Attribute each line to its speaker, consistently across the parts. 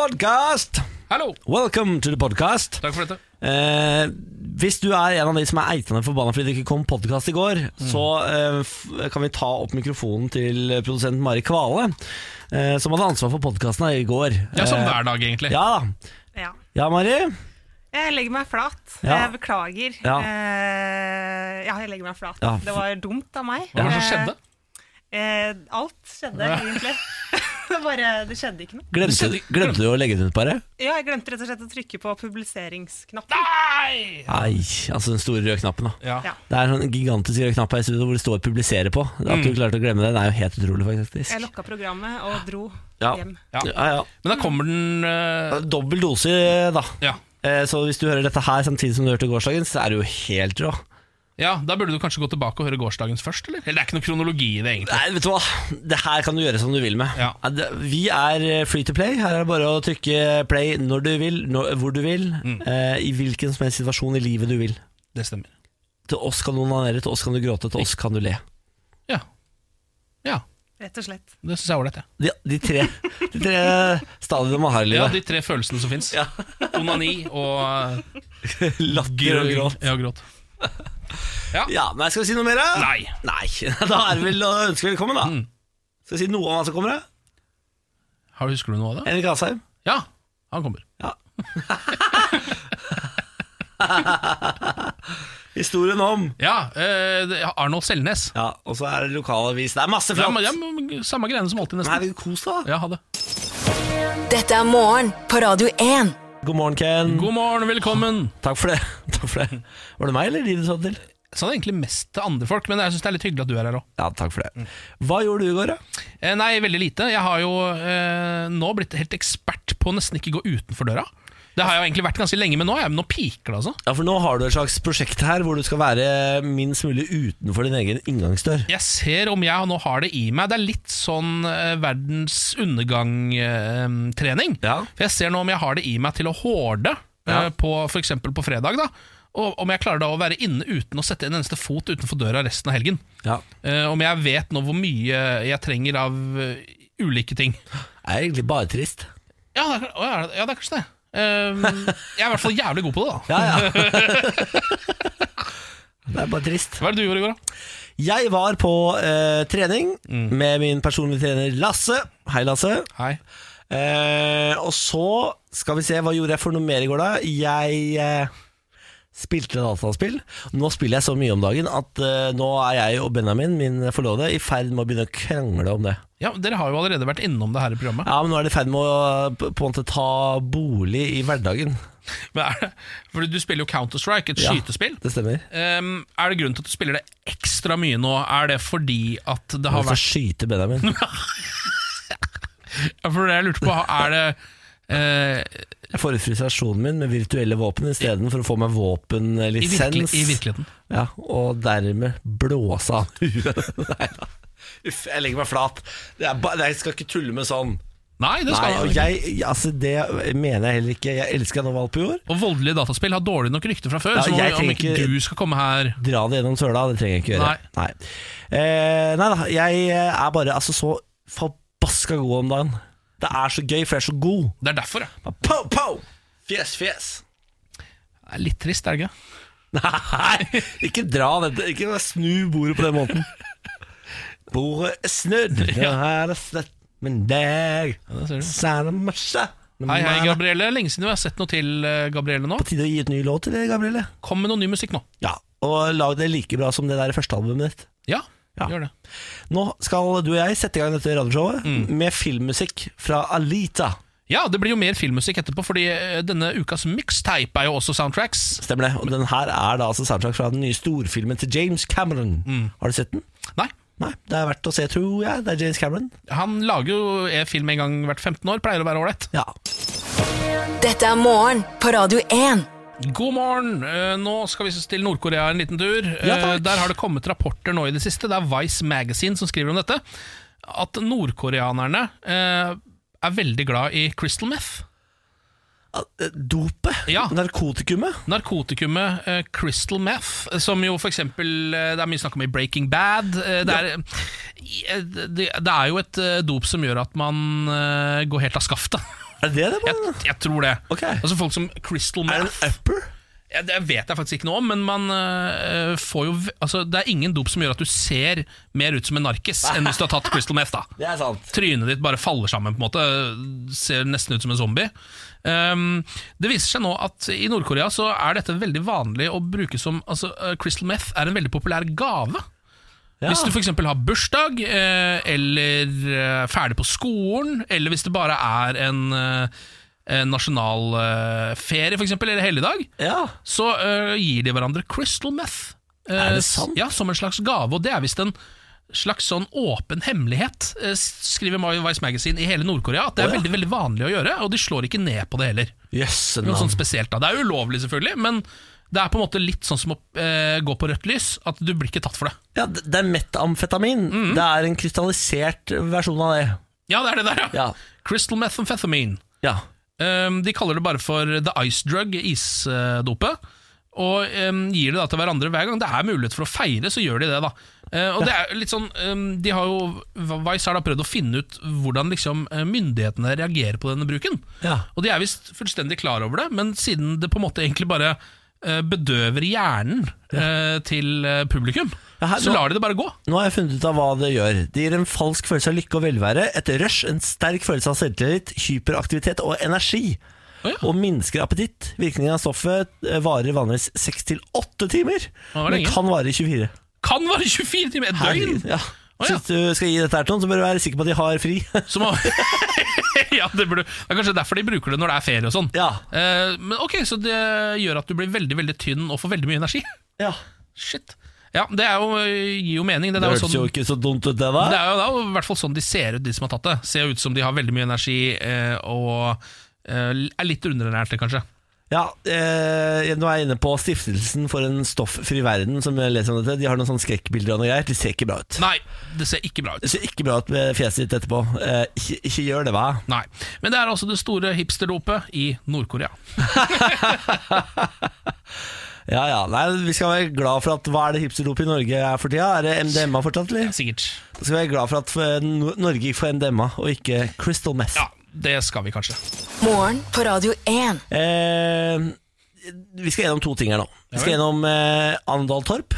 Speaker 1: Podcast!
Speaker 2: Hallo!
Speaker 1: Welcome to the podcast.
Speaker 2: Takk for dette.
Speaker 1: Eh, hvis du er en av de som er eitende forbanna fordi det ikke kom podkast i går,
Speaker 2: Mm.
Speaker 1: så eh, f kan vi ta opp mikrofonen til produsent Mari Kvale, eh, som hadde ansvar for podkasten i går.
Speaker 2: Ja, sånn Som
Speaker 1: Eh,
Speaker 2: hver dag, egentlig.
Speaker 1: Ja,
Speaker 3: Ja.
Speaker 1: ja Mari?
Speaker 3: Jeg legger meg flat.
Speaker 1: Ja.
Speaker 3: Jeg beklager.
Speaker 1: Ja.
Speaker 3: Eh, ja, jeg legger meg flat.
Speaker 1: Ja.
Speaker 3: Det var dumt av meg.
Speaker 2: Hva var det som skjedde?
Speaker 3: Eh, alt skjedde, egentlig. det, bare, det skjedde ikke noe.
Speaker 1: Glemte, glemte du å legge den ut, bare?
Speaker 3: Ja, jeg glemte rett og slett å trykke på publiseringsknappen.
Speaker 1: Ah!
Speaker 2: Nei!
Speaker 1: Nei, altså den store røde knappen, da.
Speaker 2: Ja.
Speaker 3: Ja.
Speaker 1: Det er en sånn gigantisk rød knapp her i studio hvor det står 'publisere' på. At
Speaker 2: Mm.
Speaker 1: du klarte å glemme den, er jo helt utrolig,
Speaker 3: Jeg
Speaker 1: faktisk.
Speaker 3: lokka programmet og dro
Speaker 1: Ja.
Speaker 3: hjem.
Speaker 2: Ja.
Speaker 1: Ja, ja.
Speaker 2: Men da kommer den eh,
Speaker 1: Dobbel dose, da.
Speaker 2: ja.
Speaker 1: Eh, Så hvis du hører dette her samtidig som du hørte gårsdagens, så er du jo helt rå.
Speaker 2: ja, da burde du kanskje gå tilbake og høre gårsdagens først, eller? Eller det er ikke noe kronologi i det, egentlig.
Speaker 1: Nei, vet du hva? Det her kan du gjøre som du vil med.
Speaker 2: Ja.
Speaker 1: Eh, det- Vi er eh, free to play. Her er det bare å trykke play når du vil, når, hvor du vil,
Speaker 2: Mm.
Speaker 1: eh, i hvilken som helst situasjon i livet du vil.
Speaker 2: Det stemmer.
Speaker 1: Til oss kan du onanere, til oss kan du gråte, til oss kan du le.
Speaker 2: Ja. Ja,
Speaker 3: Rett og slett.
Speaker 2: det syns jeg er ålreit, jeg.
Speaker 1: De, de, tre, de tre stadiene man har i
Speaker 2: Ja,
Speaker 1: livet.
Speaker 2: de tre følelsene som fins.
Speaker 1: Ja.
Speaker 2: Onani og eh,
Speaker 1: Latter og gråt.
Speaker 2: Ja, gråt.
Speaker 1: Ja, nei, Skal vi si noe mer, da?
Speaker 2: Nei.
Speaker 1: Nei, Da er det vel å ønske velkommen, da.
Speaker 2: Mm.
Speaker 1: Skal vi si noe om hva som kommer? da?
Speaker 2: Har du- Husker du noe av det?
Speaker 1: Henrik Asheim.
Speaker 2: Ja, han kommer.
Speaker 1: Historien om
Speaker 2: Ja, eh, det- Arnold Selnes.
Speaker 1: Ja, og så er det lokalavis. Det er masse
Speaker 2: Ja,
Speaker 1: flott.
Speaker 2: men, ja, men, samme greiene som alltid,
Speaker 1: Nei,
Speaker 2: nesten.
Speaker 1: men kos deg, da.
Speaker 2: Ja, ha det.
Speaker 4: Dette er morgen på Radio 1.
Speaker 1: God morgen, Ken.
Speaker 2: God morgen, velkommen.
Speaker 1: Takk for det. Takk for det. Var det meg eller de du sa det til?
Speaker 2: Jeg sa det egentlig mest til andre folk, men jeg syns det er litt hyggelig at du er her òg.
Speaker 1: Ja, takk for det. Hva gjorde du i går, da?
Speaker 2: Eh, Nei, veldig lite. Jeg har jo eh, nå blitt helt ekspert på å nesten ikke gå utenfor døra. Det har jeg jo egentlig vært ganske lenge, men nå, er jeg, nå piker det, altså.
Speaker 1: Ja, for nå har du et slags prosjekt her hvor du skal være minst mulig utenfor din egen inngangsdør.
Speaker 2: Jeg ser om jeg nå har det i meg. Det er litt sånn eh, verdens undergang-trening.
Speaker 1: Ja.
Speaker 2: For jeg ser nå om jeg har det i meg til å horde,
Speaker 1: Ja.
Speaker 2: eh, på, for eksempel på fredag. da og om jeg klarer da å være inne uten å sette en eneste fot utenfor døra resten av helgen.
Speaker 1: Ja.
Speaker 2: Eh, om jeg vet nå hvor mye jeg trenger av eh, ulike ting.
Speaker 1: Det er egentlig bare trist.
Speaker 2: Ja, det er, å, ja, det- ja, det er kanskje det. Ehm, jeg er i hvert fall jævlig god på det, da.
Speaker 1: Ja, ja. det er bare trist.
Speaker 2: Hva er det du gjorde i går, da?
Speaker 1: Jeg var på eh, trening med min personlige trener Lasse. Hei, Lasse.
Speaker 2: Hei.
Speaker 1: Eh, og så skal vi se, hva gjorde jeg for noe mer i går da? Jeg eh, spilte dataspill. Nå spiller jeg så mye om dagen at eh, nå er jeg og Benjamin, min forlovede, i ferd med å begynne å krangle om det.
Speaker 2: Ja, Dere har jo allerede vært innom det her i programmet.
Speaker 1: Ja, men nå er det i ferd med å på på en måte ta bolig i hverdagen.
Speaker 2: Men er det, for Du spiller jo Counter-Strike, et
Speaker 1: Ja.
Speaker 2: skytespill.
Speaker 1: Det stemmer.
Speaker 2: Ehm, er det grunnen til at du spiller det ekstra mye nå? Er det fordi at det har
Speaker 1: Hvorfor
Speaker 2: vært
Speaker 1: skyte Benjamin?
Speaker 2: Ja, For det jeg lurte på, er det eh,
Speaker 1: Jeg får ut frustrasjonen min med virtuelle våpen istedenfor å få meg
Speaker 2: i, virkelig,
Speaker 1: våpenlisens.
Speaker 2: I virkeligheten.
Speaker 1: Ja, og dermed blåse av huet. Nei da. Uff, jeg legger meg flat. Det er ba, jeg skal ikke tulle med sånn.
Speaker 2: Nei, det
Speaker 1: Nei,
Speaker 2: skal
Speaker 1: og
Speaker 2: jeg.
Speaker 1: jeg, altså Det mener jeg heller ikke. Jeg elsker deg nå, Valpejord.
Speaker 2: Og voldelige dataspill har dårlig nok rykte fra før,
Speaker 1: Ja,
Speaker 2: så om,
Speaker 1: jeg
Speaker 2: om ikke
Speaker 1: tenker-
Speaker 2: du skal komme her
Speaker 1: Dra det gjennom søla, det trenger jeg ikke gjøre. Nei, Eh, nei da, jeg er bare altså, så forbaska god om dagen. Det er så gøy, for jeg er så god.
Speaker 2: Det er derfor, ja.
Speaker 1: Bare Pow, pow! Fjes, fjes.
Speaker 2: Det er litt trist, er det ikke?
Speaker 1: Nei, ikke dra dette. Ikke snu bordet på den måten. Bordet er snudd, nå er det slett min dag.
Speaker 2: Ja, det ser du. Hei,
Speaker 1: Hei,
Speaker 2: hei, Gabrielle. Lenge siden vi har sett noe til eh, Gabrielle nå.
Speaker 1: På tide å gi et ny låt til det, Gabrielle.
Speaker 2: Kom med noe ny musikk nå.
Speaker 1: Ja, og lag det like bra som det der første albumet ditt.
Speaker 2: Ja,
Speaker 1: Ja.
Speaker 2: gjør det.
Speaker 1: Nå skal du og jeg sette i gang dette radioshowet
Speaker 2: Mm.
Speaker 1: med filmmusikk fra Alita.
Speaker 2: Ja, det blir jo mer filmmusikk etterpå, fordi eh, denne ukas mixtape er jo også soundtracks. Mm.
Speaker 1: Stemmer det. Og den her er da altså soundtrack fra den nye storfilmen til James Cameron. Har du sett den?
Speaker 2: Nei,
Speaker 1: Nei, det er verdt å se, tror jeg. Det er James Cameron.
Speaker 2: Han lager jo eh, film en gang hvert 15 år, pleier å være ålreit.
Speaker 1: Ja.
Speaker 4: Dette er morgen på Radio 1.
Speaker 2: God morgen! Eh, Nå skal vi til Nord-Korea en liten tur.
Speaker 1: Ja,
Speaker 2: Eh,
Speaker 1: takk.
Speaker 2: Der har det kommet rapporter nå i det siste. Det er Vice Magazine som skriver om dette. At nordkoreanerne eh, er veldig glad i crystal meth.
Speaker 1: Eh, Dopet.
Speaker 2: Ja.
Speaker 1: Narkotikumet.
Speaker 2: Narkotikumet eh, crystal meth, som jo for eksempel eh, Det er mye snakk om i Breaking Bad. Eh, det, er, eh, det, det er jo et eh, dop som gjør at man eh, går helt av skaftet.
Speaker 1: Er det det?
Speaker 2: Jeg,
Speaker 1: Man?
Speaker 2: jeg tror det.
Speaker 1: Ok.
Speaker 2: Altså Folk som crystal
Speaker 1: Er det
Speaker 2: meth
Speaker 1: en upper?
Speaker 2: Ja, Det vet jeg faktisk ikke noe om, men man øh, får jo v- altså, Det er ingen dop som gjør at du ser mer ut som en narkis enn hvis du har tatt crystal meth. da
Speaker 1: Det er sant.
Speaker 2: Trynet ditt bare faller sammen, på en måte ser nesten ut som en zombie. Ehm, det viser seg nå at i Nord-Korea så er dette veldig vanlig å bruke som altså, øh, Crystal meth er en veldig populær gave.
Speaker 1: Ja.
Speaker 2: Hvis du f.eks. har bursdag, eh, eller eh, ferdig på skolen, eller hvis det bare er en, eh, en nasjonal eh, ferie, f.eks., eller helligdag,
Speaker 1: ja.
Speaker 2: så eh, gir de hverandre crystal meth. Eh,
Speaker 1: Er det sant?
Speaker 2: Ja, Som en slags gave, og det er visst en slags sånn åpen hemmelighet, eh, skriver Mayo Vice Magazine i hele Nord-Korea. At det er
Speaker 1: Å, ja.
Speaker 2: veldig veldig vanlig å gjøre, og de slår ikke ned på det heller.
Speaker 1: Jøsse
Speaker 2: Noe sånt
Speaker 1: navn.
Speaker 2: spesielt da Det er ulovlig, selvfølgelig, men det er på en måte litt sånn som å eh, gå på rødt lys, at du blir ikke tatt for det.
Speaker 1: Ja, det det er metamfetamin.
Speaker 2: Mhm.
Speaker 1: Det er en krystallisert versjon av det.
Speaker 2: Ja, det er det der, ja!
Speaker 1: Ja.
Speaker 2: Crystal methamphetamine.
Speaker 1: Ja.
Speaker 2: Um, de kaller det bare for the ice drug, isdopet. Og um, gir det da til hverandre hver gang det er mulighet for å feire, så gjør de det. da Eh, Og det er litt sånn um, de har jo, Vice har da prøvd å finne ut hvordan liksom eh, myndighetene reagerer på denne bruken.
Speaker 1: Ja.
Speaker 2: Og de er visst fullstendig klar over det, men siden det på en måte egentlig bare eh, bedøver hjernen eh, til eh, publikum,
Speaker 1: Ja, her-
Speaker 2: så
Speaker 1: nå-
Speaker 2: lar de det bare gå.
Speaker 1: Nå har jeg funnet ut av hva det gjør. Det gir en falsk følelse av lykke og velvære, et rush, en sterk følelse av selvtillit, hyperaktivitet og energi.
Speaker 2: Å ja.
Speaker 1: Og minsker appetitt. Virkningen av stoffet eh, varer vanligvis 6-8 timer,
Speaker 2: Ja, det er
Speaker 1: men
Speaker 2: lenge.
Speaker 1: kan vare i 24.
Speaker 2: Kan være 24 timer, et
Speaker 1: Herregud,
Speaker 2: døgn!
Speaker 1: Ja.
Speaker 2: Å
Speaker 1: Så
Speaker 2: ja.
Speaker 1: hvis du skal gi dette her til noen, så bør du være sikker på at de har fri.
Speaker 2: Som å- ja, det, burde, det er kanskje derfor de bruker det når det er ferie og sånn.
Speaker 1: ja.
Speaker 2: Eh, men ok, Så det gjør at du blir veldig veldig tynn og får veldig mye energi?
Speaker 1: ja.
Speaker 2: Shit. Ja, Det er jo, eh, gir jo mening. Det,
Speaker 1: Det
Speaker 2: er jo
Speaker 1: hørtes jo
Speaker 2: sånn,
Speaker 1: ikke så dumt ut, det da.
Speaker 2: det er jo det er jo i hvert fall sånn de ser ut, de som har tatt det. Ser ut som de har veldig mye energi eh, og eh, er litt underernærte, kanskje.
Speaker 1: Ja, eh, Nå er jeg inne på Stiftelsen for en stofffri verden, som jeg leser om dette. De har noen sånne skrekkbilder og noe greier. Det ser ikke bra ut.
Speaker 2: Nei, det ser ikke bra ut.
Speaker 1: Det ser ikke bra ut med fjeset ditt etterpå. Eh, ikke, ikke gjør det, hva?
Speaker 2: Nei, Men det er altså det store hipsterdopet i Nord-Korea.
Speaker 1: Ja, ja. Nei, vi skal være glad for at Hva er det hipsterdop i Norge er for tida? Er det MDMA fortsatt, eller?
Speaker 2: Sikkert.
Speaker 1: Så skal vi være glad for at eh, Nor- Norge gikk for MDMA og ikke Crystal Meth.
Speaker 2: Ja, det skal vi kanskje.
Speaker 4: Morgen på Radio 1.
Speaker 1: Eh, vi skal gjennom to ting her nå. Vi skal gjennom eh, Andal Torp.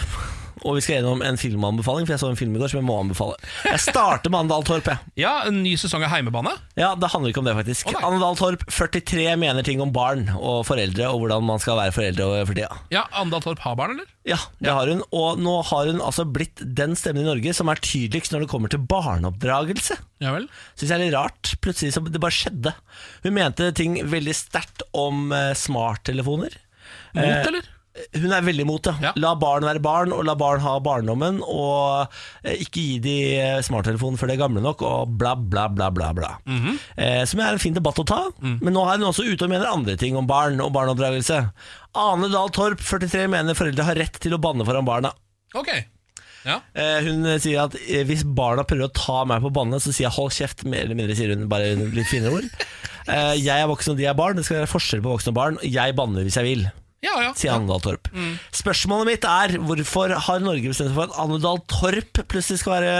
Speaker 1: Og vi skal gjennom en filmanbefaling, for jeg så en film i går som jeg må anbefale. Jeg starter med Andal Torp, jeg.
Speaker 2: Ja, en ny sesong av Heimebane.
Speaker 1: Ja, det handler ikke om det, faktisk.
Speaker 2: Å, nei.
Speaker 1: Anne Dahl Torp, 43, mener ting om barn og foreldre, og hvordan man skal være foreldre over for tida.
Speaker 2: Ja, Andal Torp har barn, eller?
Speaker 1: Ja, det har hun. Og nå har hun altså blitt den stemmen i Norge som er tydeligst når det kommer til barneoppdragelse.
Speaker 2: Ja vel.
Speaker 1: Syns jeg er litt rart. Plutselig så det bare skjedde. Hun mente ting veldig sterkt om eh, smarttelefoner.
Speaker 2: Mot, eller?
Speaker 1: Hun er veldig imot det.
Speaker 2: Ja.
Speaker 1: La barn være barn, og la barn ha barndommen. Og eh, ikke gi de eh, smarttelefonen før de er gamle nok, og bla, bla, bla, bla. bla. eh, som er en fin debatt å ta. Men nå er hun også ute og mener andre ting om barn og barneoppdragelse. Ane Dahl Torp, 43, mener foreldre har rett til å banne foran barna.
Speaker 2: Ok. Ja.
Speaker 1: Eh, hun sier at eh, hvis barna prøver å ta meg på banne, så sier jeg 'hold kjeft', mer eller mindre, sier hun, bare med litt finere ord. Eh, jeg er voksen, og de er barn. Det skal være forskjell på voksne og barn. Jeg banner hvis jeg vil
Speaker 2: Ja, ja. Mm.
Speaker 1: sier Anne Dahl Torp. Spørsmålet mitt er hvorfor har Norge bestemt seg for at Anne Dahl Torp plutselig skal være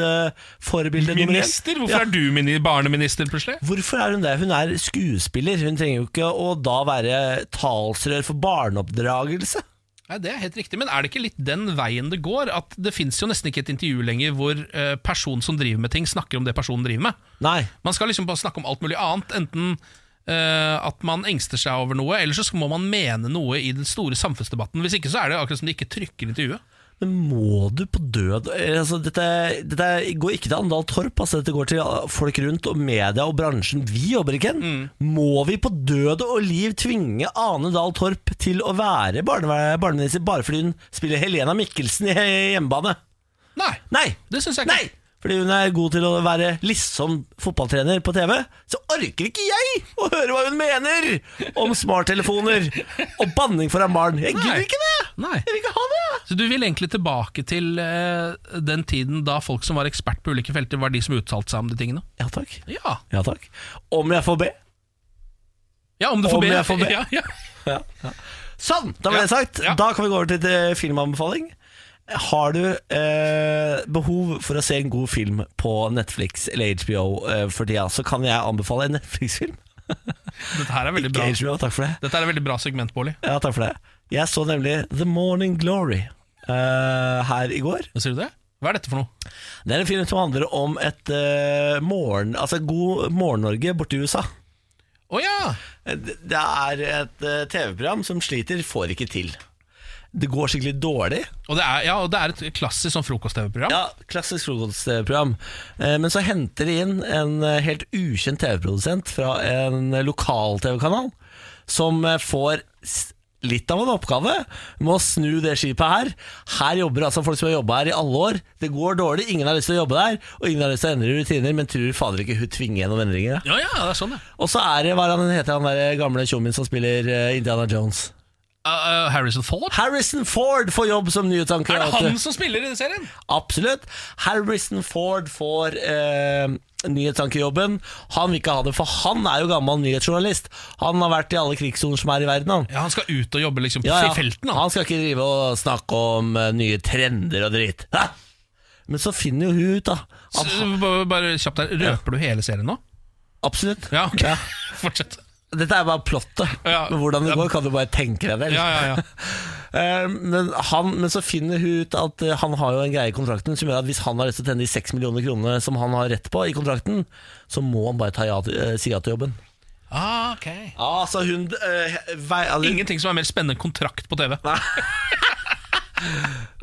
Speaker 1: barneoppdragelsesforbilde nummer én?
Speaker 2: Minister? Hvorfor er du mini barneminister plutselig?
Speaker 1: Hvorfor er hun det? Hun er skuespiller. Hun trenger jo ikke å da være talsrør for barneoppdragelse.
Speaker 2: Nei, Det er helt riktig, men er det ikke litt den veien det går? At Det fins jo nesten ikke et intervju lenger hvor eh, personen som driver med ting, snakker om det personen driver med.
Speaker 1: Nei.
Speaker 2: Man skal liksom bare snakke om alt mulig annet. Enten eh, at man engster seg over noe, eller så må man mene noe i den store samfunnsdebatten. Hvis ikke så er det akkurat som de ikke trykker intervjuet.
Speaker 1: Men må du på død eh, altså, dette, dette går ikke til Anne Dahl Torp. Altså, dette går til ah, folk rundt og media og bransjen vi jobber i. Ken.
Speaker 2: Mm.
Speaker 1: Må vi på død og liv tvinge Ane Dahl Torp til å være barnevær- barneminister bare fordi hun spiller Helena Mikkelsen i he- hjemmebane?
Speaker 2: Nei,
Speaker 1: Nei!
Speaker 2: det syns jeg ikke.
Speaker 1: Nei! Fordi hun er god til å være liksom fotballtrener på TV, så orker ikke jeg å høre hva hun mener om smarttelefoner og banning foran barn. Jeg gidder
Speaker 2: Nei.
Speaker 1: ikke det!
Speaker 2: Nei.
Speaker 1: Jeg vil ikke ha det!
Speaker 2: Så du vil egentlig tilbake til eh, den tiden da folk som var ekspert på ulike felter, var de som uttalte seg om de tingene?
Speaker 1: Ja takk.
Speaker 2: Ja,
Speaker 1: Ja takk. Om jeg får be.
Speaker 2: ja om du får
Speaker 1: Om
Speaker 2: be.
Speaker 1: jeg får be.
Speaker 2: Ja, ja.
Speaker 1: Sånn, da var
Speaker 2: Ja,
Speaker 1: det sagt.
Speaker 2: ja.
Speaker 1: Da kan vi gå over til eh, filmanbefaling. Har du eh, behov for å se en god film på Netflix eller HBO eh, for tida, så kan jeg anbefale en Netflix-film.
Speaker 2: Dette her er veldig bra.
Speaker 1: Ikke HBO, takk for det.
Speaker 2: Dette er et veldig bra segment, Bårli.
Speaker 1: Ja, takk for det. Jeg så nemlig The Morning Glory eh, her i går.
Speaker 2: Sier du det? Hva er dette for noe?
Speaker 1: Det er en film som handler om et eh, morgen... Altså God morgen-Norge borti USA.
Speaker 2: Å ja!
Speaker 1: Det det er et eh, TV-program som sliter, får ikke til. Det går skikkelig dårlig.
Speaker 2: Og det er, ja! Og det er et klassisk sånn frokost-TV-program.
Speaker 1: Ja, klassisk frokost-program. Eh, Men så henter de inn en eh, helt ukjent TV-produsent fra en eh, lokal TV-kanal, som eh, får s- litt av en oppgave med å snu det skipet her. Her jobber altså folk som har jobba her i alle år. Det går dårlig, ingen har lyst til å jobbe der, og ingen har lyst til å endre rutiner, men tror fader ikke hun tvinger gjennom endringer. ja.
Speaker 2: Ja, ja, det er sånn, ja.
Speaker 1: Og så er det hva er han heter han der gamle tjommien som spiller eh, Indiana Jones.
Speaker 2: Uh, uh, Harrison Ford?
Speaker 1: Harrison Ford får jobb som nyhetsanker.
Speaker 2: Er det
Speaker 1: vet du.
Speaker 2: han som spiller i den serien?
Speaker 1: Absolutt. Harrison Ford får eh, nyhetsankerjobben. Han vil ikke ha det, for han er jo gammel nyhetsjournalist. Han har vært i alle krigssoner som er i verden. Han.
Speaker 2: Ja, Han skal ut og jobbe liksom
Speaker 1: Ja, ja.
Speaker 2: i felten, han.
Speaker 1: han skal ikke drive og snakke om eh, nye trender og dritt. Hæ? Men så finner jo hun ut, da.
Speaker 2: Så,
Speaker 1: At,
Speaker 2: bare- bare kjapt her, Røper du hele serien nå?
Speaker 1: absolutt.
Speaker 2: Ja, ok. Fortsett.
Speaker 1: Dette er bare plottet.
Speaker 2: Ja.
Speaker 1: Men hvordan det
Speaker 2: Ja.
Speaker 1: går, kan du bare tenke deg vel.
Speaker 2: Ja, ja, ja.
Speaker 1: Eh, men, han, men så finner hun ut at eh, han har jo en greie i kontrakten som gjør at hvis han har lyst til å tjene de 6 millioner kronene som han har rett på i kontrakten, så må han bare ta ja til, eh, si ja til jobben.
Speaker 2: Ah, ok
Speaker 1: Ja, så hun eh, vei, altså,
Speaker 2: Ingenting som er mer spennende enn kontrakt på TV.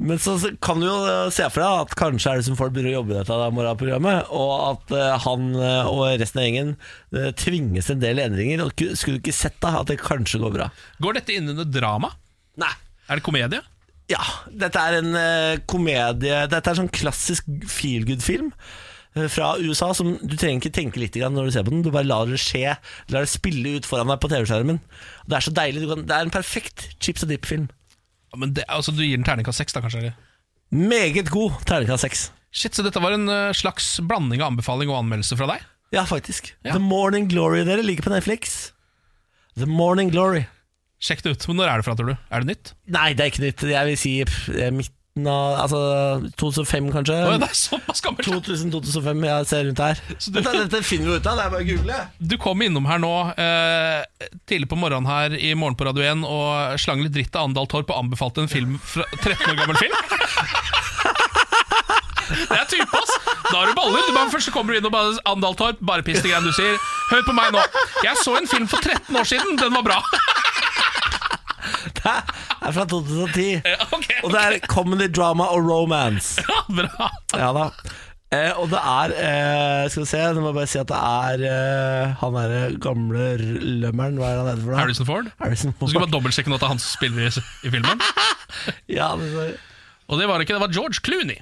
Speaker 1: Men så så kan du jo eh, se for deg at kanskje Alison Ford begynner å jobbe i dette der morgenprogrammet, og at eh, han eh, og resten av gjengen eh, tvinges til en del endringer. Og ku- skulle du ikke sett da at det kanskje går bra?
Speaker 2: Går dette inn under drama?
Speaker 1: Nei.
Speaker 2: Er det komedie?
Speaker 1: Ja, dette er en eh, komedie Dette er sånn klassisk feelgood-film eh, fra USA som du trenger ikke tenke litt grann når du ser på den. Du bare lar det skje. Lar det spille ut foran deg på TV-skjermen. Det er så deilig. Du kan, det er en perfekt chips and dip-film.
Speaker 2: Ja, men det, altså, du gir den terningkast seks, da, kanskje? Eller?
Speaker 1: Meget god terningkast seks.
Speaker 2: Shit, Så dette var en eh, slags blanding av anbefaling og anmeldelse fra deg?
Speaker 1: Ja, faktisk.
Speaker 2: Ja.
Speaker 1: The Morning Glory, dere, ligger på Netflix. The Morning Glory.
Speaker 2: Sjekk det ut. Men når er det fra, tror du? Er det nytt?
Speaker 1: Nei, det er ikke nytt. Jeg vil si pff, eh, midten av Altså 2005, kanskje.
Speaker 2: Å, ja, det er såpass gammelt!
Speaker 1: 2000-2005, jeg ser rundt her.
Speaker 2: Så du-
Speaker 1: Dette, dette finner vi ut av, det er bare å google.
Speaker 2: Du kom innom her nå eh, tidlig på morgenen her i Morgen på Radio 1 og slang litt dritt av Andal Torp og anbefalte en film fra 13 år gammel film. Det er type, ass! Da har du baller. Du bare, først så kommer du inn og bare Andal Torp, bare piss de greiene du sier. Hør på meg nå. Jeg så en film for 13 år siden. Den var bra.
Speaker 1: Det er fra 2010.
Speaker 2: Ja, ok,
Speaker 1: Og det er comedy, drama og romance.
Speaker 2: Ja, bra.
Speaker 1: Ja da. Eh, og det er eh, Skal vi se, nå må jeg bare si at det er eh, han derre gamle r- lømmeren Hva er han heter for noe?
Speaker 2: Harrison Ford.
Speaker 1: Harrison
Speaker 2: Du
Speaker 1: Ford.
Speaker 2: skal bare dobbeltsjekke nå at det er han som spiller i, i filmen.
Speaker 1: Ja, det var-
Speaker 2: Og det var det ikke, det var George Clooney.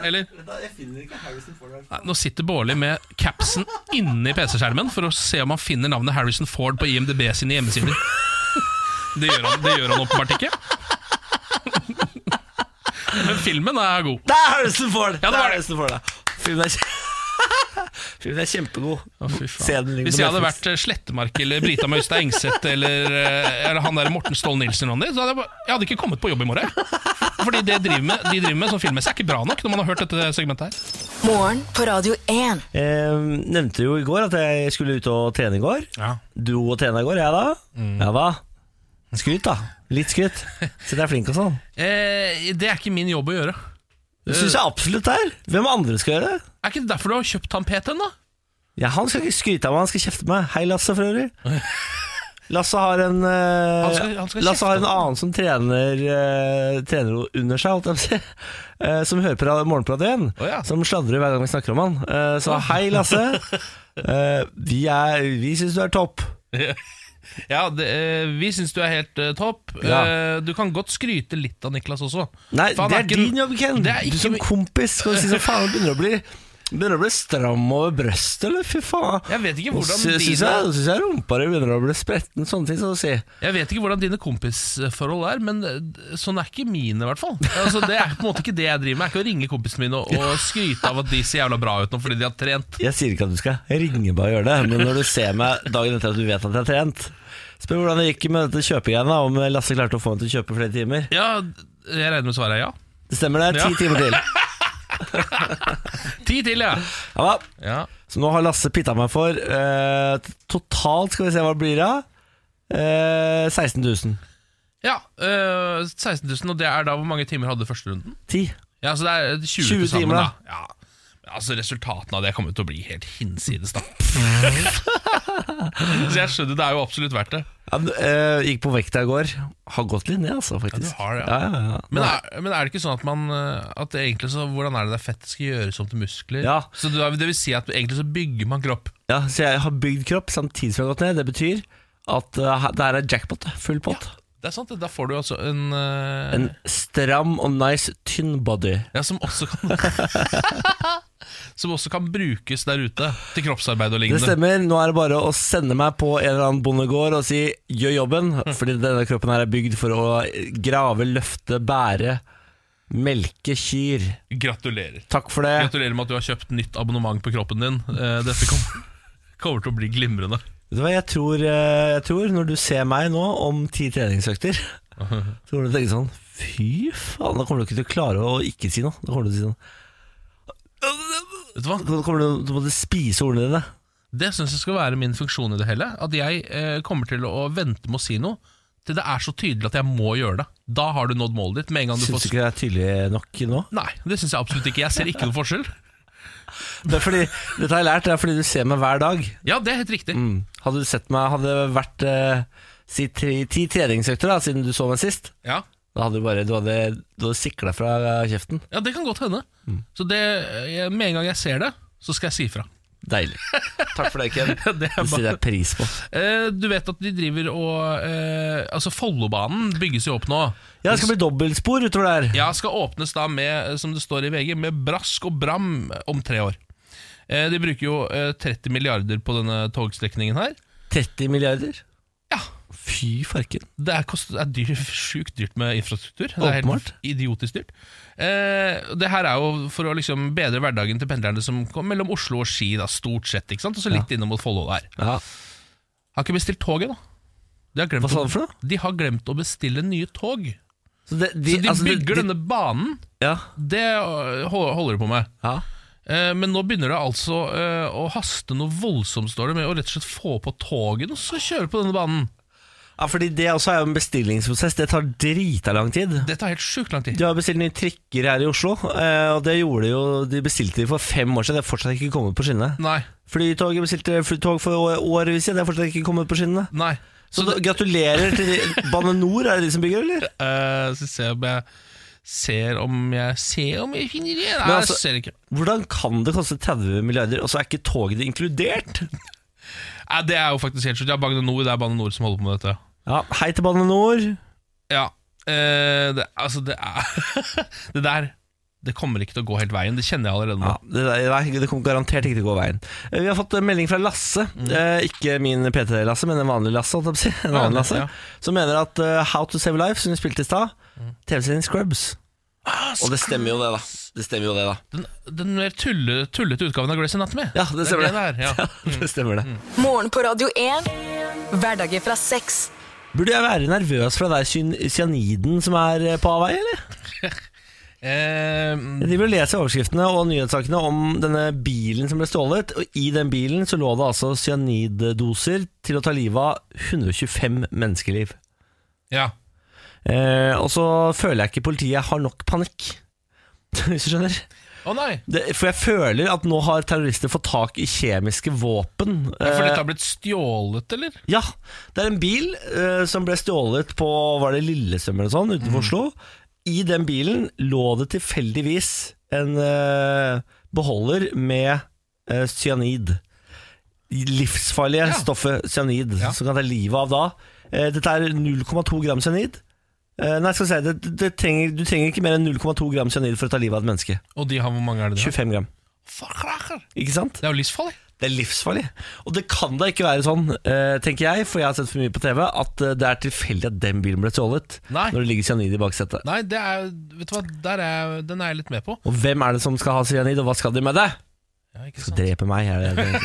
Speaker 2: Eller
Speaker 1: Jeg finner ikke Harrison Ford her.
Speaker 2: Nei, Nå sitter Bårli med capsen inni PC-skjermen for å se om han finner navnet Harrison Ford på IMDb sine hjemmesider. Det gjør han, det gjør han åpenbart ikke. Men filmen er god.
Speaker 1: Det er Harrison Ford!
Speaker 2: Ja, det
Speaker 1: er
Speaker 2: var det.
Speaker 1: Harrison Ford, da. Filmen er, kje- Filmen er kjempegod.
Speaker 2: Å, fy faen.
Speaker 1: Se den ligger
Speaker 2: Hvis
Speaker 1: på
Speaker 2: jeg hadde
Speaker 1: Netflix.
Speaker 2: vært eh, Slettemark eller Brita Møystad Engseth eller, eh, eller han der Morten Ståhl Nilsen, eller noen av de, så hadde jeg, bare, jeg hadde ikke kommet på jobb i morgen. Fordi det driver med, de driver med sånn filmmessig er ikke bra nok når man har hørt dette segmentet her.
Speaker 4: Morgen på Radio 1.
Speaker 1: Eh, nevnte jo i går at jeg skulle ut og trene i går.
Speaker 2: Ja.
Speaker 1: Dro og trena i går, jeg da.
Speaker 2: Mm.
Speaker 1: Ja da. Skryt, da. Litt skryt. Så jeg er flink og sånn.
Speaker 2: Eh, det er ikke min jobb å gjøre.
Speaker 1: Det syns jeg absolutt det er. Hvem andre skal gjøre det?
Speaker 2: Er ikke det derfor du har kjøpt han PT-en, da?
Speaker 1: Ja, Han skal ikke skryte av meg, han skal kjefte meg. Hei, Lasse, for øvrig. Lasse har en eh,
Speaker 2: Han skal- han skal
Speaker 1: Lasse har en
Speaker 2: kjefte.
Speaker 1: annen som trener eh, Trener under seg, holdt jeg på å si. Eh, som hører på ra- Morgenpratet igjen.
Speaker 2: Å, ja.
Speaker 1: Som sladrer hver gang vi snakker om han. Eh, så hei, Lasse. Eh, vi er- vi syns du er topp.
Speaker 2: Ja, det, eh, vi syns du er helt eh, topp.
Speaker 1: Ja.
Speaker 2: Eh, du kan godt skryte litt av Niklas også.
Speaker 1: Nei,
Speaker 2: For han
Speaker 1: det
Speaker 2: er
Speaker 1: er
Speaker 2: ikke-
Speaker 1: din jobb, Ken.
Speaker 2: Det er
Speaker 1: Du
Speaker 2: ikke
Speaker 1: som
Speaker 2: min-
Speaker 1: kompis skal du si sånn faen, begynner å bli Begynner å bli stram over brøstet, eller? Fy faen.
Speaker 2: Jeg vet ikke
Speaker 1: Nå
Speaker 2: hvordan
Speaker 1: sy- syns
Speaker 2: dine-
Speaker 1: jeg, nå syns jeg rumpa di begynner å bli spretten, sånne ting som du sier.
Speaker 2: Jeg vet ikke hvordan dine kompisforhold er, men eh, sånn er ikke mine, i hvert fall. Altså, det er på en måte ikke det jeg driver med. Jeg er ikke å ringe kompisene mine og, og skryte av at de ser jævla bra ut nå fordi de har trent.
Speaker 1: Jeg sier ikke at du skal ringe meg og gjøre det, men når du ser meg dagen etter at du vet at jeg har trent Spør hvordan det gikk med dette kjøpegreiene, om Lasse klarte å få meg til å kjøpe flere timer.
Speaker 2: Ja, jeg regner med svaret er ja.
Speaker 1: Det stemmer, det er ti
Speaker 2: Ja.
Speaker 1: timer til.
Speaker 2: Ti til, ja.
Speaker 1: Ja da.
Speaker 2: ja.
Speaker 1: Så nå har Lasse pitta meg for eh, Totalt, skal vi se hva det blir av. Eh, 16 000.
Speaker 2: Ja, øh, 16 000, og det er da hvor mange timer hadde første runden?
Speaker 1: 10.
Speaker 2: Ja, så det er
Speaker 1: 20
Speaker 2: 20, til sammen,
Speaker 1: timer,
Speaker 2: da.
Speaker 1: da.
Speaker 2: Ja. Men Altså, resultatene av det kommer til å bli helt hinsides, da. så jeg skjønner, det er jo absolutt verdt det.
Speaker 1: Ja, men, eh, gikk på vekta i går. Har gått litt ned, altså, faktisk.
Speaker 2: du har det, ja.
Speaker 1: ja. Ja, ja,
Speaker 2: Men er, men er det ikke sånn at man øh, At det egentlig så, Hvordan er det det er fett skal gjøres om til muskler?
Speaker 1: Ja.
Speaker 2: Så det, det vil si at egentlig så bygger man kropp.
Speaker 1: ja. Så jeg har bygd kropp samtidig som jeg har gått ned. Det betyr at eh, det her er jackpot. Full pott.
Speaker 2: Det er sant, det. Da får du altså en, øh,
Speaker 1: En stram og nice tynn body.
Speaker 2: Ja, som også kan Som også kan brukes der ute til kroppsarbeid og
Speaker 1: Det
Speaker 2: lignende.
Speaker 1: stemmer. Nå er det bare å sende meg på en eller annen bondegård og si 'gjør jobben',
Speaker 2: Hm.
Speaker 1: fordi denne kroppen her er bygd for å grave, løfte, bære, melke kyr.
Speaker 2: Gratulerer.
Speaker 1: Takk for det.
Speaker 2: Gratulerer med at du har kjøpt nytt abonnement på kroppen din. Eh, Dette kom- kommer til å bli glimrende.
Speaker 1: Vet du hva, jeg tror, eh, jeg tror når du ser meg nå om ti treningsøkter, så kommer du til å tenke sånn Fy faen, da kommer du ikke til å klare å ikke si noe. Da kommer du til å si sånn
Speaker 2: Vet du hva?
Speaker 1: Da kommer du til å måtte spise ordene dine.
Speaker 2: Det syns jeg skal være min funksjon i det hele. At jeg eh, kommer til å vente med å si noe til det er så tydelig at jeg må gjøre det. Da har du nådd målet ditt. Med en gang du
Speaker 1: Syns
Speaker 2: får
Speaker 1: du ikke det er tydelig nok nå?
Speaker 2: Nei, det syns jeg absolutt ikke. Jeg ser ikke noen forskjell.
Speaker 1: Det er fordi, dette har jeg lært, det er fordi du ser meg hver dag.
Speaker 2: Ja, det er helt riktig.
Speaker 1: Mm. Hadde du sett meg Hadde det vært eh, si tre, ti treningsøkter da, siden du så meg sist,
Speaker 2: Ja,
Speaker 1: da hadde du bare Du hadde, du hadde sikla fra eh, kjeften.
Speaker 2: ja det kan godt hende.
Speaker 1: Mm.
Speaker 2: Så det, jeg- med en gang jeg ser det, så skal jeg si ifra.
Speaker 1: Deilig. Takk for det, Ken.
Speaker 2: Ja, det er
Speaker 1: Det setter
Speaker 2: bare-
Speaker 1: jeg pris på.
Speaker 2: Eh, Du vet at de driver og eh, Altså, Follobanen bygges jo opp nå.
Speaker 1: Ja, det skal bli dobbeltspor utover der.
Speaker 2: Ja, skal åpnes da med, eh, som det står i VG, med brask og bram om tre år. Eh, De bruker jo eh, 30 milliarder på denne togstrekningen her.
Speaker 1: 30 milliarder.
Speaker 2: Ja.
Speaker 1: Fy farken.
Speaker 2: Det er, kost, det er dyr, sjukt dyrt med infrastruktur. Det er helt
Speaker 1: Åpenbart.
Speaker 2: idiotisk dyrt. Eh, det her er jo for å liksom bedre hverdagen til pendlerne som kom mellom Oslo og Ski, da, stort sett. ikke sant? Og så litt innom mot Follo der.
Speaker 1: Ja.
Speaker 2: Har ikke bestilt toget, da. De har, glemt
Speaker 1: Hva sa
Speaker 2: å-
Speaker 1: du for noe?
Speaker 2: de har glemt å bestille nye tog.
Speaker 1: Så det- de,
Speaker 2: Så de
Speaker 1: altså, det-
Speaker 2: bygger
Speaker 1: de-
Speaker 2: denne banen.
Speaker 1: Ja.
Speaker 2: Det øh, hol- holder de på med.
Speaker 1: ja.
Speaker 2: Eh, Men nå begynner det altså eh, å haste noe voldsomt, står det, med å rett og slett få på togene og så kjøre på denne banen.
Speaker 1: Ja, fordi Det også er jo en bestillingsprosess. Det tar drita lang tid.
Speaker 2: Det tar helt sjukt lang tid.
Speaker 1: De har bestilt nye trikker her i Oslo, eh, og det gjorde de jo De bestilte de for fem år siden. Det er fortsatt ikke kommet på skinnene.
Speaker 2: Nei,
Speaker 1: Flytoget bestilte flytog for å- årevis siden. Det er fortsatt ikke kommet på skinnene.
Speaker 2: nei.
Speaker 1: Så
Speaker 2: Så
Speaker 1: da,
Speaker 2: det,
Speaker 1: gratulerer til de, Bane Nor, er det de som bygger, eller?
Speaker 2: eh, så ser jeg om jeg ser om jeg ser om jeg finner det Nei,
Speaker 1: altså-
Speaker 2: jeg ser ikke.
Speaker 1: Hvordan kan det koste 30 milliarder, og så er ikke toget inkludert?
Speaker 2: Nei, det er jo faktisk helt sjukt. Ja, Bane Nor, det er Bane Nor som holder på med dette.
Speaker 1: Ja, hei til Bane Nor.
Speaker 2: Ja. eh, det, altså, det er Det der Det kommer ikke til å gå helt veien. Det kjenner jeg allerede nå.
Speaker 1: Ja, det, der- nei, det kommer garantert ikke til å gå veien. Eh, Vi har fått en melding fra Lasse,
Speaker 2: Mm.
Speaker 1: eh, ikke min PT-Lasse, men en vanlig Lasse, holdt jeg på å si. En
Speaker 2: Ja,
Speaker 1: annen
Speaker 2: det-
Speaker 1: Lasse,
Speaker 2: ja.
Speaker 1: som mener at eh, How to Save Life, som vi spilte i stad,
Speaker 2: Mm.
Speaker 1: TV-serien Scrubs.
Speaker 2: Ah,
Speaker 1: Og det stemmer jo det, da. Det stemmer jo det, da.
Speaker 2: Den, den mer tulle, tullete utgaven av Grace Anatomy.
Speaker 1: Ja, det stemmer
Speaker 2: det. er det der, ja. Mm.
Speaker 1: det stemmer det.
Speaker 4: Morgen på Radio 1. Hverdager fra seks.
Speaker 1: Burde jeg være nervøs for den der cyan- cyaniden som er eh, på avveie, eller?
Speaker 2: Eh, Mm.
Speaker 1: Jeg driver og leser overskriftene og nyhetssakene om denne bilen som ble stjålet. Og I den bilen så lå det altså cyaniddoser til å ta livet av 125 menneskeliv.
Speaker 2: ja.
Speaker 1: Eh, og så føler jeg ikke politiet har nok panikk. Hvis du skjønner?
Speaker 2: Å nei!
Speaker 1: Det, for jeg føler at nå har terrorister fått tak i kjemiske våpen.
Speaker 2: Ja, For
Speaker 1: Eh,
Speaker 2: dette har blitt stjålet, eller?
Speaker 1: Ja, det er en bil eh, som ble stjålet på Var det Lillesøm eller sånn, utenfor Oslo. I den bilen lå det tilfeldigvis en eh, beholder med eh, cyanid. livsfarlige stoffet cyanid, som kan ta livet av da. Eh, Dette er 0,2 gram cyanid. Eh, Nei, skal jeg si, det, det trenger, du trenger ikke mer enn 0,2 gram cyanid for å ta livet av et menneske.
Speaker 2: Og de har, hvor mange er det de har?
Speaker 1: 25 gram.
Speaker 2: Fuck, rakker.
Speaker 1: Ikke sant?
Speaker 2: Det er jo livsfarlig.
Speaker 1: Det er livsfarlig. Og det kan da ikke være sånn, eh, tenker jeg, for jeg har sett for mye på TV, at eh, det er tilfeldig at den bilen ble stjålet
Speaker 2: Nei.
Speaker 1: når det ligger cyanid i baksetet.
Speaker 2: Nei, det er, vet du hva, Der er, den er jeg litt med på.
Speaker 1: Og hvem er det som skal ha cyanid, og hva skal de med det?
Speaker 2: Ja, ikke
Speaker 1: Skal
Speaker 2: sant?
Speaker 1: drepe meg, er det det?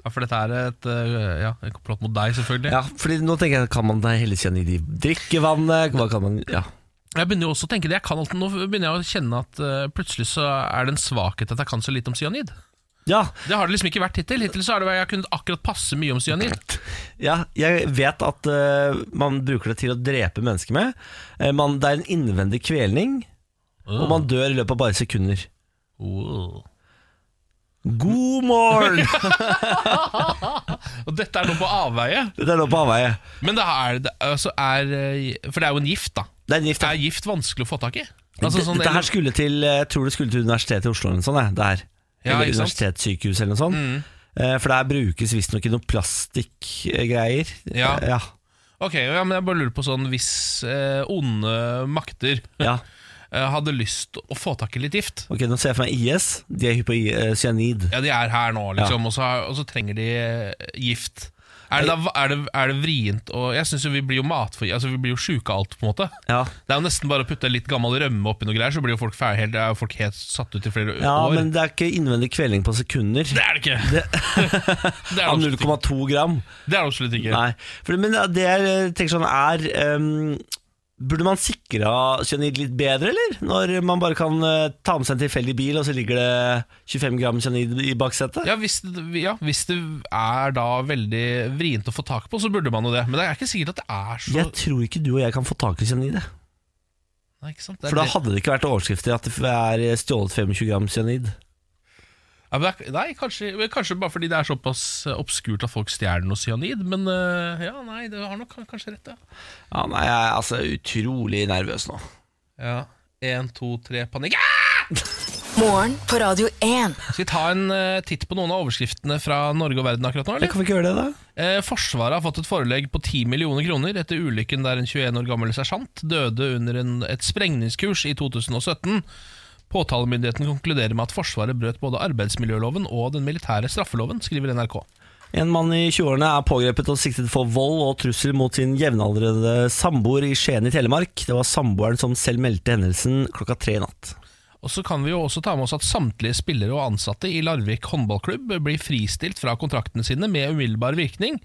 Speaker 2: Ja, For dette er et øh, ja, en komplott mot deg, selvfølgelig.
Speaker 1: Ja, fordi nå tenker jeg, kan man da helle cyanid i drikkevannet? Hva kan man, ja
Speaker 2: Jeg begynner jo også å tenke det, jeg kan alltid, Nå begynner jeg å kjenne at øh, plutselig så er det en svakhet at jeg kan så lite om cyanid.
Speaker 1: Ja,
Speaker 2: Det har det liksom ikke vært hittil. Hittil så har det vært, jeg har kunnet akkurat passe mye om cyanid.
Speaker 1: ja jeg vet at eh, man bruker det til å drepe mennesker med. Eh, man, det er en innvendig kvelning, og man dør i løpet av bare sekunder.
Speaker 2: Wow.
Speaker 1: God morgen!
Speaker 2: Og dette er nå på avveie.
Speaker 1: Dette er nå på avveie.
Speaker 2: Men det er, det, altså er øh, For det er jo en gift, da.
Speaker 1: Det er en gift.
Speaker 2: Er gift vanskelig å få tak i? Altså, sånn,
Speaker 1: Dette her skulle til, eh, jeg tror det skulle til Universitetet i Oslo eller noe sånt. eh, Det her.
Speaker 2: Ja,
Speaker 1: eller
Speaker 2: ikke sant? Mm.
Speaker 1: universitetssykehus eller noe sånt. Eh, For der brukes visstnok noen plastikkgreier.
Speaker 2: Ja.
Speaker 1: Eh, ja.
Speaker 2: Ok, ja, men jeg bare lurer på sånn Hvis øh, onde makter
Speaker 1: ja.
Speaker 2: øh, hadde lyst å få tak i litt gift
Speaker 1: Ok, nå ser jeg for meg IS. De er hypp på i- eh, cyanid.
Speaker 2: Ja, de er her nå, liksom, og, så, har- og så trenger de eh, gift. Er det, da, er det, er det vrient å Jeg syns jo vi blir jo matfri, altså vi blir jo sjuke av alt, på en måte.
Speaker 1: Ja.
Speaker 2: Det er jo nesten bare å putte litt gammel rømme oppi noe greier, så blir jo folk ferdig, helt, er jo folk helt satt ut i flere
Speaker 1: Ja,
Speaker 2: år.
Speaker 1: men det er ikke innvendig kvelning på sekunder.
Speaker 2: det er det ikke!
Speaker 1: Det,
Speaker 2: Det er
Speaker 1: av
Speaker 2: det absolutt ikke.
Speaker 1: 0,2 gram.
Speaker 2: Det er det absolutt ikke.
Speaker 1: Nei. For, men det jeg eh, tenker sånn er ehm, Burde man sikra cyanid litt bedre, eller? Når man bare kan eh, ta med seg en tilfeldig bil, og så ligger det 25 gram cyanid i baksetet?
Speaker 2: Ja hvis, det, ja, hvis det er da veldig vrient å få tak på, så burde man jo det. Men det er ikke sikkert at det er så
Speaker 1: Jeg tror ikke du og jeg kan få tak i cyanid. jeg.
Speaker 2: Nei, ikke sant? Det er
Speaker 1: For da
Speaker 2: det-
Speaker 1: hadde det ikke vært overskrifter at det er stjålet 25 gram cyanid.
Speaker 2: Ja, men det er, nei, kanskje, men kanskje bare fordi det er såpass eh, obskurt at folk stjeler noe cyanid. Men eh, ja, nei, det har nok kanskje rett, ja.
Speaker 1: Ja, nei, jeg er altså utrolig nervøs nå.
Speaker 2: ja. En, to, tre, panikk. Ah!
Speaker 4: Morgen på Radio 1.
Speaker 2: Skal vi ta en eh, titt på noen av overskriftene fra Norge og verden akkurat nå?
Speaker 1: Men
Speaker 2: eller?
Speaker 1: kan vi ikke gjøre det, da?
Speaker 2: Eh, Forsvaret har fått et forelegg på 10 millioner kroner etter ulykken der en 21 år gammel sersjant døde under en, et sprengningskurs i 2017. Påtalemyndigheten konkluderer med at Forsvaret brøt både arbeidsmiljøloven og den militære straffeloven, skriver NRK.
Speaker 1: En mann i 20-årene er pågrepet og siktet for vold og trussel mot sin jevnaldrende samboer i Skien i Telemark. Det var samboeren som selv meldte hendelsen klokka tre i natt.
Speaker 2: Og så kan vi jo også ta med oss at samtlige spillere og ansatte i Larvik håndballklubb blir fristilt fra kontraktene sine med umiddelbar virkning.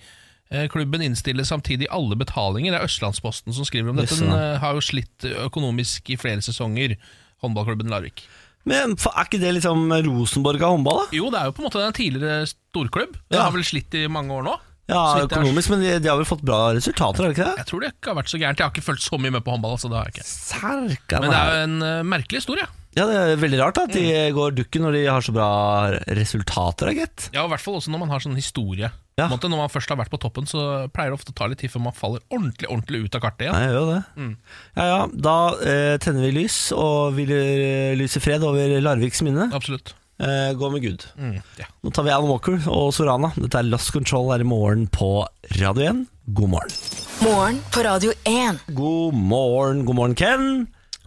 Speaker 2: Eh, Klubben innstiller samtidig alle betalinger. Det er Østlandsposten som skriver om dette. Den eh, har jo slitt økonomisk i flere sesonger, håndballklubben Larvik.
Speaker 1: Men fa- er ikke det liksom Rosenborg av håndball, da?
Speaker 2: Jo, det er jo på en måte en tidligere storklubb. Den
Speaker 1: Ja.
Speaker 2: har vel slitt i mange år nå.
Speaker 1: Ja,
Speaker 2: Så vidt jeg har-
Speaker 1: økonomisk, men de, de har vel fått bra resultater, har de ikke det?
Speaker 2: Jeg tror det ikke har vært så gærent. Jeg har ikke følt så mye med på håndball. Altså, det har jeg ikke.
Speaker 1: Serkan
Speaker 2: Men det er
Speaker 1: er-
Speaker 2: jo en eh, merkelig historie.
Speaker 1: Ja, det er veldig rart da, at de går dukken når de har så bra resultater, da, gitt.
Speaker 2: Ja, og I hvert fall også når man har sånn historie.
Speaker 1: Ja.
Speaker 2: På en måte, når man først har vært på toppen, så pleier det ofte å ta litt tid før man faller ordentlig ordentlig ut av kartet
Speaker 1: Nei,
Speaker 2: igjen.
Speaker 1: jeg gjør jo det.
Speaker 5: Mm.
Speaker 1: Ja, ja, da eh, tenner vi lys, og vil eh, lyse fred over Larviks minne.
Speaker 2: Absolutt.
Speaker 1: Eh, gå med Gud.
Speaker 2: Mm, ja.
Speaker 1: Nå tar vi Alan Walker og Sorana. Dette er Lost Control her i morgen på Radio 1. God morgen.
Speaker 4: Morgen på Radio 1.
Speaker 1: God morgen, god morgen Ken.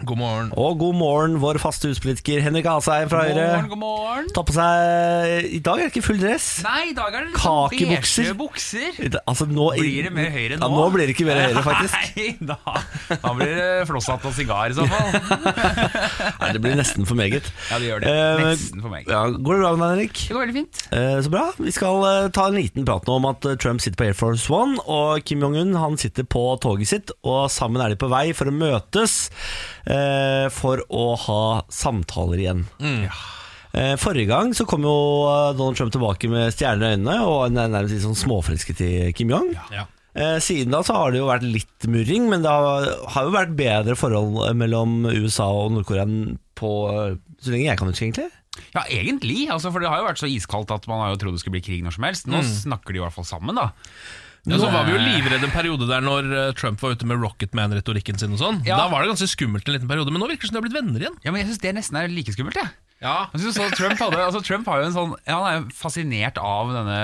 Speaker 2: God morgen.
Speaker 1: Og god morgen vår faste huspolitiker Henrik Asheim fra Høyre.
Speaker 5: God morgen.
Speaker 1: Ta på seg I dag er det ikke full dress.
Speaker 5: Nei, i dag er det litt sånn
Speaker 1: Kakebukser.
Speaker 5: beige bukser.
Speaker 1: I dag- Altså, nå,
Speaker 5: Blir det mer høyre nå?
Speaker 1: Ja, nå blir det ikke mer høyre, faktisk.
Speaker 5: Nei, da, da blir det flosshatt og sigar i så fall.
Speaker 1: Nei, det blir nesten for meget.
Speaker 5: Ja, det gjør det.
Speaker 1: Eh,
Speaker 5: Nesten for meg.
Speaker 1: Ja, går det bra med deg, Henrik?
Speaker 5: Det går veldig fint.
Speaker 1: Eh, Så bra. Vi skal eh, ta en liten prat nå om at eh, Trump sitter på Air Force One, og Kim Jong-un han sitter på toget sitt, og sammen er de på vei for å møtes eh, for å ha samtaler igjen.
Speaker 5: Mm.
Speaker 1: Eh, Forrige gang så kom jo eh, Donald Trump tilbake med stjerner i øynene og en nærmest litt sånn småforelsket i Kim Jong.
Speaker 2: Ja.
Speaker 1: Eh, Siden da så har det jo vært litt murring, men det har, har jo vært bedre forhold eh, mellom USA og Nord-Korea på eh, så lenge jeg kan huske, egentlig.
Speaker 5: Ja, egentlig. Altså, for det har jo vært så iskaldt at man har jo trodd det skulle bli krig når som helst.
Speaker 2: Mm.
Speaker 5: Nå snakker de i hvert fall sammen, da.
Speaker 2: Ja, så var vi jo livredde en periode der når eh, Trump var ute med Rocketman-retorikken sin og sånn.
Speaker 5: Ja.
Speaker 2: Da var det ganske skummelt en liten periode, men nå virker det som de har blitt venner igjen.
Speaker 5: Ja, men jeg syns det nesten er like skummelt, jeg.
Speaker 2: Ja.
Speaker 5: Jeg synes også Trump, hadde, altså Trump har jo en sånn Han er jo fascinert av denne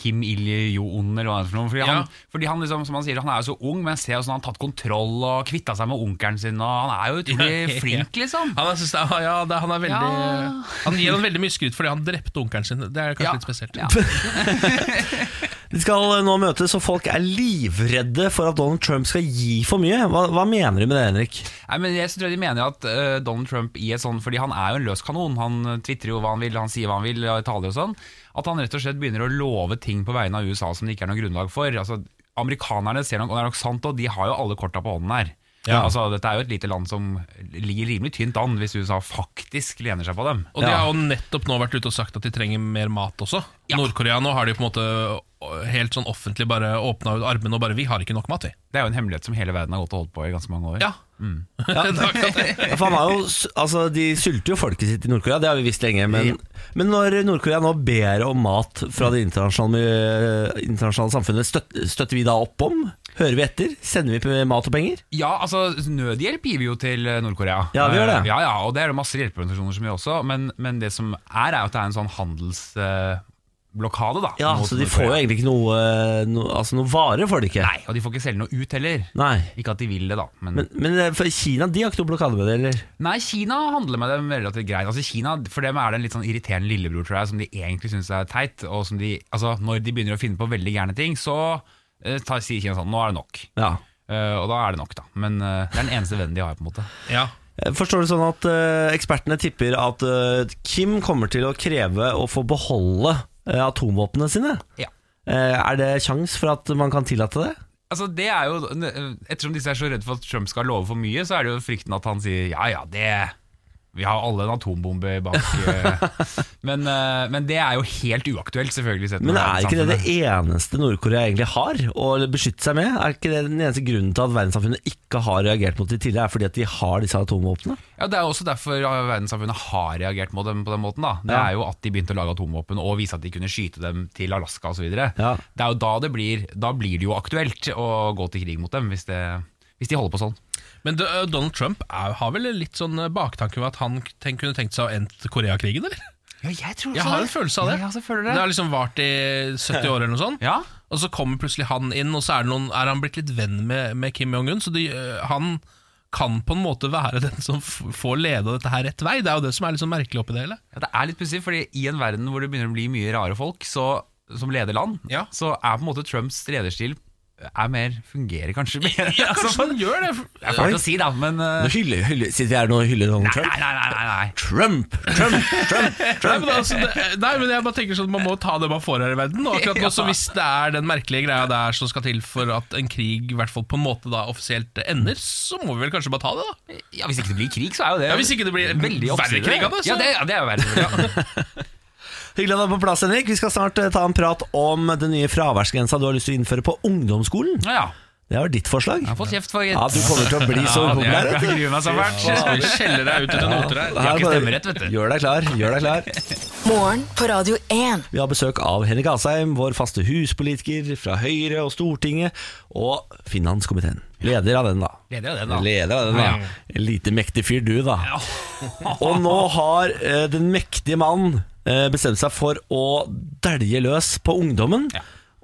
Speaker 5: Kim Il-Joon, eller hva det er for noe. Fordi han,
Speaker 2: Ja.
Speaker 5: fordi han liksom, som han sier, han er jo så ung, men jeg ser jo sånn han har tatt kontroll og kvitta seg med onkelen sin, og han er jo utrolig flink, liksom.
Speaker 2: Han er, synes det, er- ja, det, han er veldig
Speaker 5: Ja.
Speaker 2: Han gir han veldig mye skryt fordi han drepte onkelen sin. Det er kanskje
Speaker 5: Ja.
Speaker 2: litt spesielt.
Speaker 5: Ja.
Speaker 1: De skal eh, nå møtes, og folk er livredde for at Donald Trump skal gi for mye. Hva, hva mener du med det, Henrik?
Speaker 5: Nei, men jeg tror de mener at eh, Donald Trump i et sånn Fordi han er jo en løs kanon. Han eh, twitterer jo hva han vil, han sier hva han vil, og taler og sånn. At han rett og slett begynner å love ting på vegne av USA som det ikke er noe grunnlag for. Altså, Amerikanerne ser nok, og det er nok sant, og de har jo alle korta på hånden her. Altså, Dette er jo et lite land som ligger rimelig tynt an, hvis USA faktisk lener seg på dem.
Speaker 2: Og de har jo nettopp nå vært ute og sagt at de trenger mer mat også. Nord-Korea nå har de på en måte helt sånn offentlig bare åpna ut armene og bare 'Vi har ikke nok mat, vi'.
Speaker 5: Det er jo en hemmelighet som hele verden har gått og holdt på i ganske mange år.
Speaker 2: Ja.
Speaker 5: Mm.
Speaker 2: det er akkurat det.
Speaker 1: Ja, For han har jo, s- altså, de sulter jo folket sitt i Nord-Korea, det har vi visst lenge. Men, men når Nord-Korea nå ber om mat fra det internasjonale, eh, internasjonale samfunnet, støtter, støtter vi da opp om? Hører vi etter? Sender vi på mat og penger?
Speaker 5: Ja, altså Nødhjelp gir vi jo til eh, Nord-Korea.
Speaker 1: Ja, vi gjør det.
Speaker 5: Eh, Ja, ja, og det er det masse hjelpeorganisasjoner som gjør også. Men, men det som er, er jo at det er en sånn handelsblokade, da.
Speaker 1: Ja,
Speaker 5: mot
Speaker 1: Så de får jo
Speaker 5: Nord-Korea.
Speaker 1: egentlig ikke noe, no, altså noe vare, får de ikke?
Speaker 5: Nei, og de får ikke selge noe ut heller.
Speaker 1: Nei.
Speaker 5: Ikke at de vil det, da. Men,
Speaker 1: Men, men eh, for Kina de har ikke noe blokade med det, eller?
Speaker 5: nei, Kina handler med dem relativt greit. Altså Kina, For dem er det en litt sånn irriterende lillebror, tror jeg, som de egentlig syns er teit. Og som de, altså når de begynner å finne på veldig gærne ting, så eh, tar, sier Kina sånn Nå er det nok.
Speaker 1: Ja.
Speaker 5: Eh, og da er det nok, da. Men eh, det er den eneste vennen de har, på en måte.
Speaker 2: Ja.
Speaker 1: Jeg Forstår det sånn at eh, ekspertene tipper at eh, Kim kommer til å kreve å få beholde eh, atomvåpnene sine?
Speaker 5: Ja.
Speaker 1: Eh, er det sjans for at man kan tillate det?
Speaker 5: Altså det er jo Ettersom disse er så redde for at Trump skal love for mye, så er det jo frykten at han sier ja ja, det Vi har alle en atombombe bak eh». men, eh, men det er jo helt uaktuelt, selvfølgelig. Sett med
Speaker 1: Men er ikke det
Speaker 5: verdenssamfunnet.
Speaker 1: det eneste Nord-Korea egentlig har å beskytte seg med? Er ikke det den eneste grunnen til at verdenssamfunnet ikke har reagert mot det tidligere, er fordi at de har disse atomvåpnene?
Speaker 5: Ja, Det er også derfor ja, verdenssamfunnet har reagert mot dem på den måten. da Det
Speaker 1: Ja.
Speaker 5: er jo at de begynte å lage atomvåpen og vise at de kunne skyte dem til Alaska osv.
Speaker 1: Ja.
Speaker 5: Det er jo da det blir Da blir det jo aktuelt å gå til krig mot dem, hvis, det, hvis de holder på sånn.
Speaker 2: Men D- Donald Trump er, har vel litt sånn baktanke ved at han tenk, kunne tenkt seg å endt Koreakrigen, eller?
Speaker 5: Ja, jeg tror
Speaker 2: Jeg har en følelse av det.
Speaker 5: Ja, jeg føler
Speaker 2: Det har
Speaker 5: det.
Speaker 2: liksom vart i 70 år eller noe sånt.
Speaker 5: Ja.
Speaker 2: Og så kommer plutselig han inn, og så er, det noen, er han blitt litt venn med, med Kim Jong-un. Så de, øh, han kan på en måte være den som f får leda dette her rett vei. Det er jo det som er litt sånn merkelig oppi det hele.
Speaker 5: Ja, det er litt pussig, fordi i en verden hvor det begynner å bli mye rare folk så, som leder land,
Speaker 2: Ja.
Speaker 5: så er på en måte Trumps lederstil er mer, fungerer kanskje bedre.
Speaker 2: Ja,
Speaker 5: Altså,
Speaker 2: kanskje han gjør det!
Speaker 5: det er fælt å si, da, men eh,
Speaker 1: Hylle, hylle, sitter vi her nå og hyller Donald
Speaker 5: Nei, nei, nei. nei, nei.
Speaker 1: Trump, Trump, Trump,
Speaker 2: Nei men, altså, det, nei, men jeg bare tenker sånn Man må ta det man får her i verden. Og akkurat nå, så Hvis det er den merkelige greia der som skal til for at en krig i hvert fall på en måte da offisielt ender, så må vi vel kanskje bare ta det, da.
Speaker 5: Ja, Hvis ikke det blir krig, så er jo det
Speaker 2: Ja, hvis ikke det blir
Speaker 5: veldig
Speaker 2: verre
Speaker 5: oppsidig.
Speaker 2: krig av det, så-
Speaker 5: Ja, det, ja, det er jo verre. Ja.
Speaker 1: Hyggelig at du er på plass, Henrik. Vi skal snart eh, ta en prat om den nye fraværsgrensa du har lyst til å innføre på ungdomsskolen.
Speaker 5: Ja, ja.
Speaker 1: Det var ditt forslag.
Speaker 5: Jeg har fått kjeft for
Speaker 1: Ja, du kommer til å bli så
Speaker 5: Ja,
Speaker 1: populær.
Speaker 5: det er-
Speaker 1: vet du.
Speaker 5: Jeg gruer meg så fælt.
Speaker 2: Vi skjeller deg ut etter noter her.
Speaker 5: har ikke
Speaker 1: Her bare-
Speaker 5: stemmerett, vet du.
Speaker 1: Gjør deg klar. gjør deg klar
Speaker 4: Morgen på Radio 1.
Speaker 1: Vi har besøk av Henrik Asheim, vår faste huspolitiker fra Høyre og Stortinget, og finanskomiteen. Leder av den, da.
Speaker 5: Leder av den, da.
Speaker 1: Leder av den, da. En lite mektig fyr du, da. og nå har eh, den mektige mannen eh, bestemt seg for å dælje løs på ungdommen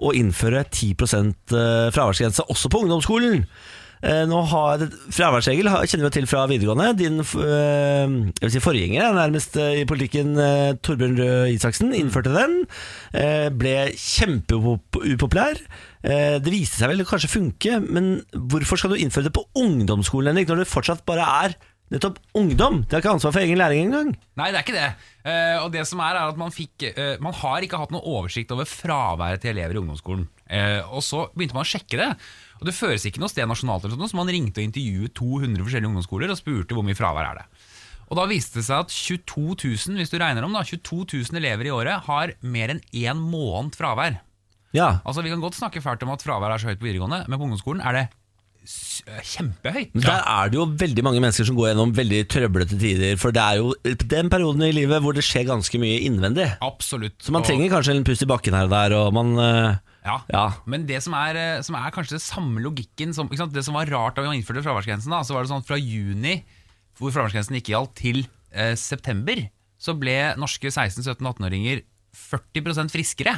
Speaker 1: og innføre 10 eh, fraværsgrense også på ungdomsskolen. Eh, Nå har Fraværsregel har- kjenner vi jo til fra videregående. Din eh, jeg vil si forgjenger eh, nærmest eh, i politikken, eh, Torbjørn Røe Isaksen, innførte den. eh, Ble kjempeupopulær. Eh, Det viste seg vel kanskje funke, men hvorfor skal du innføre det på ungdomsskolen, Henrik, når det fortsatt bare er nettopp ungdom? De har ikke ansvar for egen læring engang.
Speaker 5: Nei, det er ikke det. Eh, og det som er, er at man fikk eh, Man har ikke hatt noen oversikt over fraværet til elever i ungdomsskolen. Eh, og så begynte man å sjekke det. Og det føres ikke noe sted nasjonalt, eller sånt, så man ringte og intervjuet 200 forskjellige ungdomsskoler og spurte hvor mye fravær er det. Og da viste det seg at 22 000, hvis du regner om da, 22 000 elever i året har mer enn én måned fravær.
Speaker 1: Ja,
Speaker 5: Altså Vi kan godt snakke fælt om at fravær er så høyt på videregående, men på ungdomsskolen er det s- øh, kjempehøyt.
Speaker 1: Men Der er det jo veldig mange mennesker som går gjennom veldig trøblete tider. For det er jo den perioden i livet hvor det skjer ganske mye innvendig.
Speaker 5: Absolutt.
Speaker 1: Så man
Speaker 5: Og-
Speaker 1: trenger kanskje en pust i bakken her og der, og man eh,
Speaker 5: Ja.
Speaker 1: Ja.
Speaker 5: Men det som er, eh, som er kanskje det samme logikken som, ikke sant? Det som var rart da vi innførte fraværsgrensen, da, så var det sånn at fra juni, hvor fraværsgrensen ikke gjaldt, til eh, øh, september, så ble norske 16-17-18-åringer 40 friskere.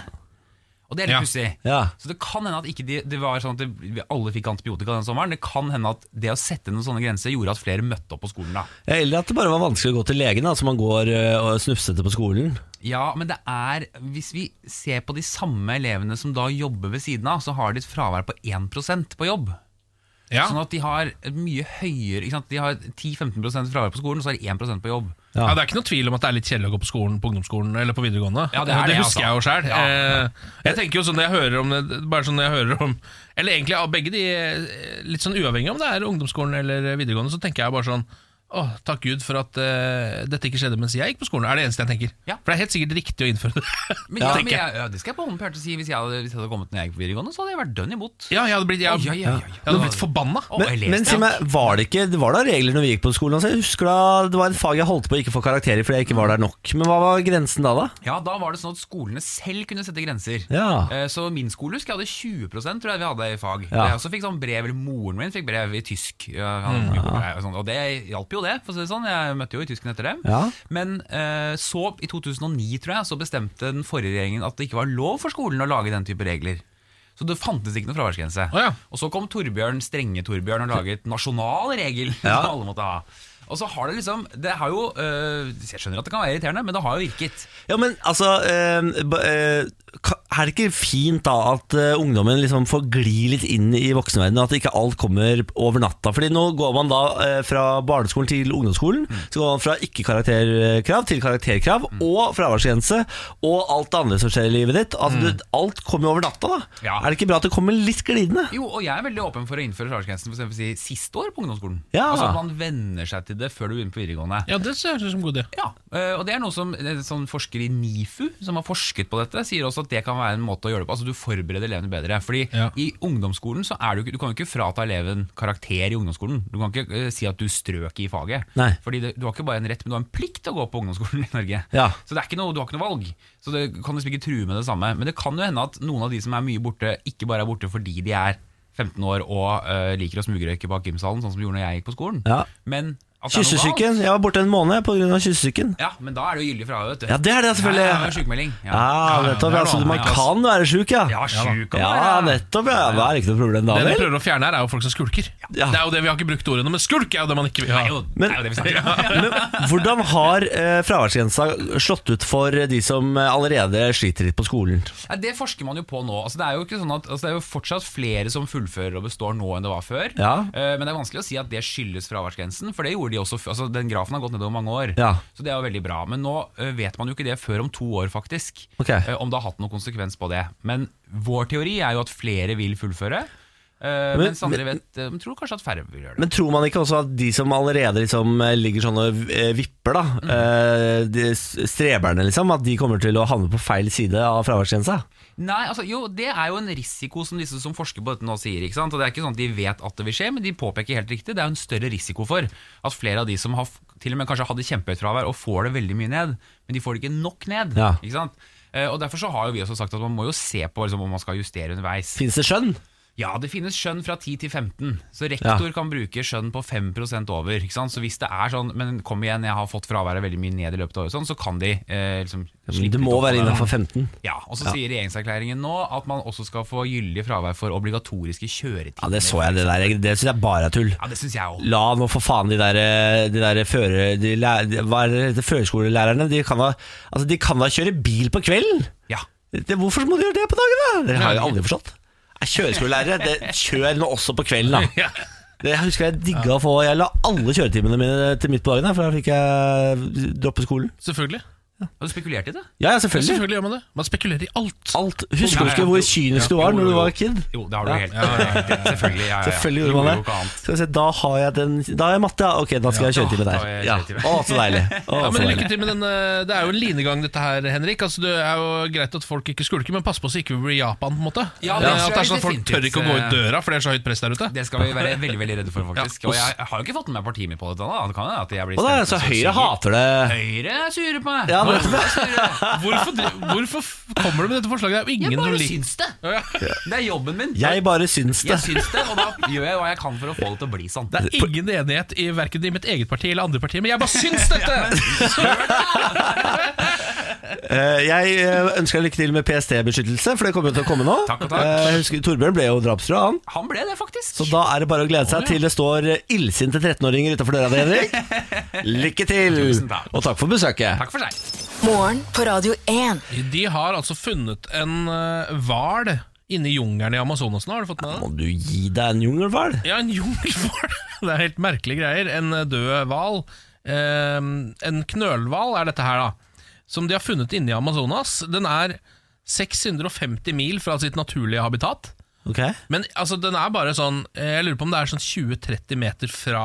Speaker 5: Og det er
Speaker 2: Ja.
Speaker 5: litt pussig.
Speaker 1: Ja.
Speaker 5: Så det kan hende at ikke de, det var sånn at det, alle fikk antibiotika den sommeren. Det kan hende at det å sette noen sånne grenser gjorde at flere møtte opp på skolen. da
Speaker 1: Ja, Eller at det bare var vanskelig å gå til legen, da, så man går eh, og er snufsete på skolen.
Speaker 5: Ja, men det er Hvis vi ser på de samme elevene som da jobber ved siden av, så har de et fravær på 1 på jobb.
Speaker 2: Ja.
Speaker 5: Sånn at de har et mye høyere ikke sant? De har 10-15 fravær på skolen, og så har de 1 på jobb.
Speaker 2: Ja. Det er ikke noe tvil om at det er litt kjedelig å gå på skolen på ungdomsskolen eller på videregående.
Speaker 5: Ja, det er det,
Speaker 2: husker jeg jo
Speaker 5: altså.
Speaker 2: selv Eh, jeg tenker jo sånn når jeg hører om det Bare sånn når jeg hører om Eller egentlig av begge de, eh, litt sånn uavhengig om det er ungdomsskolen eller videregående, så tenker jeg bare sånn Åh, takk Gud for at eh, dette ikke skjedde mens jeg gikk på skolen. Er det eneste jeg tenker.
Speaker 5: Ja.
Speaker 2: For det er helt sikkert riktig å innføre det.
Speaker 5: Men, ja, men
Speaker 2: tenker jeg.
Speaker 5: jeg, ja, det skal jeg på hånden på hjertet si. Hvis jeg, hadde, hvis jeg hadde kommet når jeg gikk på videregående, så hadde jeg vært dønn imot.
Speaker 2: Ja, jeg hadde blitt, jeg,
Speaker 5: Oi, oi, oi, oi.
Speaker 2: Jeg hadde blitt forbanna.
Speaker 5: Å, jeg
Speaker 1: Men,
Speaker 5: leste
Speaker 1: men si
Speaker 5: det.
Speaker 1: meg, var det ikke Det var da regler når vi gikk på skolen? Altså, jeg husker da Det var en fag jeg holdt på å ikke få karakter i fordi jeg ikke var der nok. Men hva var grensen da, da?
Speaker 5: Ja, da var det sånn at skolene selv kunne sette grenser.
Speaker 1: Ja.
Speaker 5: Eh, Så min skole husker jeg hadde 20 tror jeg vi hadde i fag.
Speaker 1: Ja.
Speaker 5: Jeg også fikk sånn brev, eller Moren min fikk brev i tysk. Ja, han gjorde det, og sånn, og det hjalp jo det. for å si det sånn. Jeg møtte jo i tysken etter det.
Speaker 1: Ja.
Speaker 5: Men eh, så, i 2009 tror jeg, så bestemte den forrige regjeringen at det ikke var lov for skolen å lage den type regler. Så det fantes ikke noen fraværsgrense.
Speaker 2: Å ja.
Speaker 5: Og så kom Torbjørn, strenge Torbjørn og laget nasjonal regel som alle måtte ha. Og så har det liksom Det har jo eh, Jeg skjønner at det kan være irriterende, men det har jo virket.
Speaker 1: Ja, men altså eh, ba- eh, ka- Er det ikke fint da at eh, ungdommen liksom får gli litt inn i voksenverdenen? At ikke alt kommer over natta? Fordi nå går man da eh, fra barneskolen til ungdomsskolen. Så går man fra ikke-karakterkrav til karakterkrav, og fraværsgrense. Og alt det andre som skjer i livet ditt. Altså, du, alt kommer jo over natta, da.
Speaker 5: Ja.
Speaker 1: Er det ikke bra at det kommer litt glidende?
Speaker 5: Jo, og jeg er veldig åpen for å innføre fraværsgrensen for eksempel si, siste år på ungdomsskolen.
Speaker 1: Ja.
Speaker 5: Altså at man venner seg til det før du begynner på videregående.
Speaker 2: Ja, det ser ut som en god idé.
Speaker 5: Ja, eh, og det er noe som eh, sånn forsker i NIFU, som har forsket på dette, sier også at det kan være en måte å gjøre det på. Altså Du forbereder elevene bedre. Fordi
Speaker 2: Ja.
Speaker 5: i ungdomsskolen så er du, ikke- du kan jo ikke frata eleven karakter i ungdomsskolen. Du kan ikke eh, si at du strøk i faget.
Speaker 1: Nei.
Speaker 5: Fordi det, du har ikke bare en rett, men du har en plikt til å gå på ungdomsskolen i Norge.
Speaker 1: Ja.
Speaker 5: Så det er ikke noe, du har ikke noe valg. Så det kan liksom ikke true med det samme. Men det kan jo hende at noen av de som er mye borte, ikke bare er borte fordi de er 15 år og eh, liker å smugrøyke bak gymsalen, sånn som de gjorde når jeg gikk på skolen.
Speaker 1: Ja.
Speaker 5: Men at Altså, det er noe galt.
Speaker 1: Kyssesyken. Jeg var borte en måned pga. kyssesyken.
Speaker 5: Ja, men da er det jo gyldig fravær, vet du.
Speaker 1: Ja, det er det, selvfølgelig.
Speaker 5: Ja, ja, ja, sykemelding.
Speaker 1: Ja, nettopp.
Speaker 2: det er
Speaker 1: Altså,
Speaker 2: noe
Speaker 1: man
Speaker 2: annet, altså.
Speaker 1: kan være sjuk, ja.
Speaker 5: Ja, sjuk kan man
Speaker 1: Ja,
Speaker 5: være.
Speaker 1: nettopp. Ja. Det er ikke noe problem da,
Speaker 2: Det vi
Speaker 1: vel?
Speaker 2: prøver å fjerne her, er jo folk som skulker.
Speaker 1: Ja.
Speaker 2: Det er jo det Vi har ikke brukt ordet nå, men skulk er jo det man ikke vil ha.
Speaker 5: Det er jo,
Speaker 1: Men-
Speaker 5: det er jo det vi snakker om.
Speaker 1: Men hvordan har eh, fraværsgrensa slått ut for de som eh, allerede sliter litt på skolen?
Speaker 5: Nei, det forsker man jo på nå. Altså, det, er jo ikke sånn at, altså, det er jo fortsatt flere som fullfører og består nå enn det var før.
Speaker 1: Ja.
Speaker 5: Eh, men det er vanskelig å si at det skyldes fraværsgrensen, for det gjorde de også f- altså, Den grafen har gått nedover mange år,
Speaker 1: Ja.
Speaker 5: så det er jo veldig bra. Men nå eh, vet man jo ikke det før om to år, faktisk.
Speaker 1: Ok.
Speaker 5: Eh, om det har hatt noen konsekvens på det. Men vår teori er jo at flere vil fullføre. eh,
Speaker 1: Men-
Speaker 5: mens andre
Speaker 1: men-
Speaker 5: vet, eh, tror kanskje at færre vil gjøre det.
Speaker 1: Men tror man ikke også at de som allerede liksom eh, ligger sånn og eh, vipper, da, eh, de s- streberne, liksom, at de kommer til å havne på feil side av fraværsgrensa?
Speaker 5: Nei, altså jo, Det er jo en risiko som disse som forsker på dette nå sier. ikke sant? Og Det er ikke sånn at de vet at det vil skje, men de påpeker helt riktig. Det er jo en større risiko for at flere av de som har, f- til og med kanskje hadde kjempehøyt fravær og får det veldig mye ned, men de får det ikke nok ned.
Speaker 1: Ja.
Speaker 5: ikke sant? Eh, Og Derfor så har jo vi også sagt at man må jo se på liksom, om man skal justere underveis.
Speaker 1: Fins det skjønn?
Speaker 5: Ja, det finnes skjønn fra 10 til 15, så rektor kan bruke skjønn på 5 over. ikke sant? Så hvis det er sånn, men kom igjen, jeg har fått fraværet veldig mye ned i løpet av året, sånn, så kan de eh, liksom slippe
Speaker 1: Det
Speaker 5: litt
Speaker 1: må
Speaker 5: opp på
Speaker 1: være
Speaker 5: det.
Speaker 1: innafor 15.
Speaker 5: Ja, og så sier regjeringserklæringen nå at man også skal få gyldig fravær for obligatoriske kjøretimer.
Speaker 1: Ja, det så jeg, det der. Det syns jeg bare er tull.
Speaker 5: Ja, det syns jeg òg.
Speaker 1: La nå for faen de der, eh, de der føre, de læ- de, hva er det, det heter, førskolelærerne de kan, da, altså de kan da kjøre bil på kvelden?
Speaker 5: Ja.
Speaker 1: Det, hvorfor må de gjøre det på dagen, da? Det har jeg aldri forstått. Jeg Kjøreskolelærere, det kjør nå også på kvelden, da. Det husker jeg digga å få. Jeg la alle kjøretimene mine til midt på dagen, da, for da fikk jeg droppe skolen.
Speaker 2: Selvfølgelig.
Speaker 5: Har du spekulert i det?
Speaker 1: Ja, ja, selvfølgelig.
Speaker 2: Selvfølgelig gjør man det. Man spekulerer i alt.
Speaker 1: Alt. Husker du ikke hvor kynisk du var når du var kid?
Speaker 5: Jo, det har du
Speaker 1: Ja.
Speaker 5: helt Selvfølgelig. Ja, ja, ja.
Speaker 1: Selvfølgelig
Speaker 5: Du
Speaker 1: gjorde man
Speaker 5: jo ikke
Speaker 1: det.
Speaker 5: annet.
Speaker 1: Skal vi se, da har jeg den Da har jeg matte, ja. Ok, da skal jeg ha kjøretime
Speaker 5: da
Speaker 1: der.
Speaker 5: har jeg
Speaker 1: Ja.
Speaker 5: kjøretime.
Speaker 1: Å, så deilig. Å,
Speaker 2: Ja,
Speaker 1: så
Speaker 2: men
Speaker 1: deilig.
Speaker 2: Lykke til med den eh, Det er jo en linegang, dette her, Henrik. Altså, det er jo greit at folk ikke skulker, men pass på så ikke vi blir Japan, på en måte.
Speaker 5: Ja,
Speaker 2: det,
Speaker 5: det
Speaker 2: at
Speaker 5: tror
Speaker 2: det er
Speaker 5: jeg
Speaker 2: sånn at Folk
Speaker 5: definitivt,
Speaker 2: tør ikke å gå ut
Speaker 5: eh,
Speaker 2: døra, for det er så høyt press der ute.
Speaker 5: Det skal vi være veldig veldig redde for, faktisk.
Speaker 2: Ja,
Speaker 5: Og jeg har jo ikke fått med meg partiet mitt på dette. Da. Det kan jo at jeg blir
Speaker 1: Og da,
Speaker 5: stemt
Speaker 1: så
Speaker 5: som
Speaker 1: Høyre
Speaker 5: suger.
Speaker 1: hater det.
Speaker 5: Høyre er sure på meg!
Speaker 1: Ja, Ja, men,
Speaker 2: Hvorfor, dri- hvorfor f- kommer du med dette forslaget? Det er jo ingen
Speaker 5: Jeg
Speaker 2: som
Speaker 5: bare
Speaker 2: liker
Speaker 5: syns det. Det er jobben min.
Speaker 1: jeg bare syns det.
Speaker 5: Jeg syns det, og da gjør jeg hva jeg kan for å få det til å bli sånn.
Speaker 2: Det er ingen enighet i verken i mitt eget parti eller andre partier, men jeg bare syns dette!
Speaker 1: Eh, Jeg eh, ønsker deg lykke til med PST-beskyttelse, for det kommer jo til å komme nå.
Speaker 5: Takk og takk.
Speaker 1: Eh, jeg husker, Torbjørn ble jo drapstrua, han.
Speaker 5: Han ble det, faktisk.
Speaker 1: Så da er det bare å glede seg til det står eh, illsinte 13-åringer utafor døra di, Henrik. Lykke til!
Speaker 5: Tusen takk.
Speaker 1: Og takk for besøket.
Speaker 5: Takk for seg.
Speaker 4: Morgen på Radio 1.
Speaker 2: De har altså funnet en eh, hval inne i jungelen i Amazonas nå, har du fått med deg det?
Speaker 1: Må du gi deg en jungelhval?
Speaker 2: Ja, en jungelhval. Det er helt merkelige greier. En eh, død hval. Eh, en knølhval er dette her, da. Som de har funnet inne i Amazonas. Den er 650 mil fra sitt naturlige habitat.
Speaker 1: Ok
Speaker 2: Men altså, den er bare sånn eh, Jeg lurer på om det er sånn 20-30 meter fra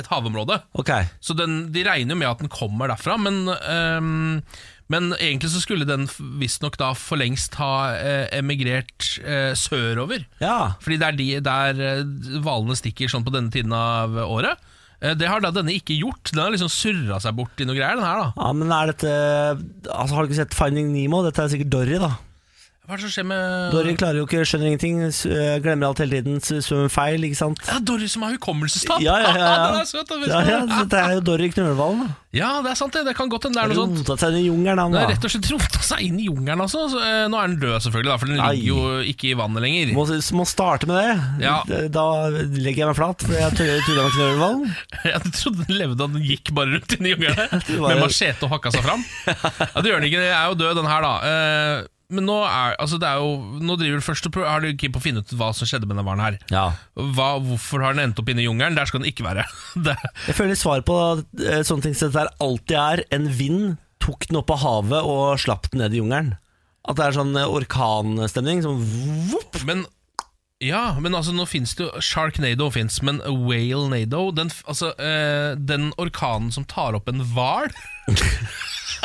Speaker 2: et havområde.
Speaker 1: Ok
Speaker 2: Så den, de regner jo med at den kommer derfra, men, ehm, men egentlig så skulle den f- visstnok da for lengst ha eh, emigrert eh, sørover.
Speaker 1: Ja.
Speaker 2: Fordi det er de, der eh, hvalene stikker sånn på denne tiden av året. Eh, Det har da denne ikke gjort. Den har liksom surra seg bort i noe greier, den her, da.
Speaker 1: ja, men er dette Altså Har du ikke sett Finding Nemo? Dette er sikkert Dory, da.
Speaker 2: Hva er det som skjer med
Speaker 1: Dory klarer jo ikke, skjønner ingenting, s- øh, glemmer alt hele tiden, s- svømmer feil, ikke sant?
Speaker 2: Ja, Dory som har hukommelsestap!
Speaker 1: Ja, ja, ja, ja.
Speaker 2: den er søt, da,
Speaker 1: Ja, ja,
Speaker 2: ja,
Speaker 1: så det er jo Dory Knølhvalen, da.
Speaker 2: det er sant, det. Det kan godt hende det er noe sånt.
Speaker 1: Rota seg inn i jungelen, han,
Speaker 2: Den har
Speaker 1: da.
Speaker 2: rett og slett rota seg inn i jungelen, altså. Så, eh, nå er den død, selvfølgelig, da, for den
Speaker 1: Ai.
Speaker 2: ligger jo ikke i vannet lenger.
Speaker 1: Må, må starte med det.
Speaker 2: Ja.
Speaker 1: D- Da legger jeg meg flat, for jeg tuller tuller med Knølhvalen.
Speaker 2: Jeg trodde den levde og den gikk bare rundt inni jungelen
Speaker 1: Det var
Speaker 2: med
Speaker 1: en-
Speaker 2: machete og hakka seg fram. Ja, det gjør den ikke. Den er jo død, den her, da. Eh, Men nå, er, altså det er jo, nå driver du først og prøver, har du keen på å finne ut hva som skjedde med den hvalen her.
Speaker 1: Ja.
Speaker 2: Hva, hvorfor har den endt opp inne i jungelen? Der skal den ikke være. Det,
Speaker 1: Jeg føler svar på eh, sånne ting som dette her alltid er en vind tok den opp av havet og slapp den ned i jungelen. At det er sånn eh, orkanstemning. Sånn vopp.
Speaker 2: men ja, men altså nå finnes det jo Sharknado fins, men Whale-nado den, f- altså, eh, den orkanen som tar opp en hval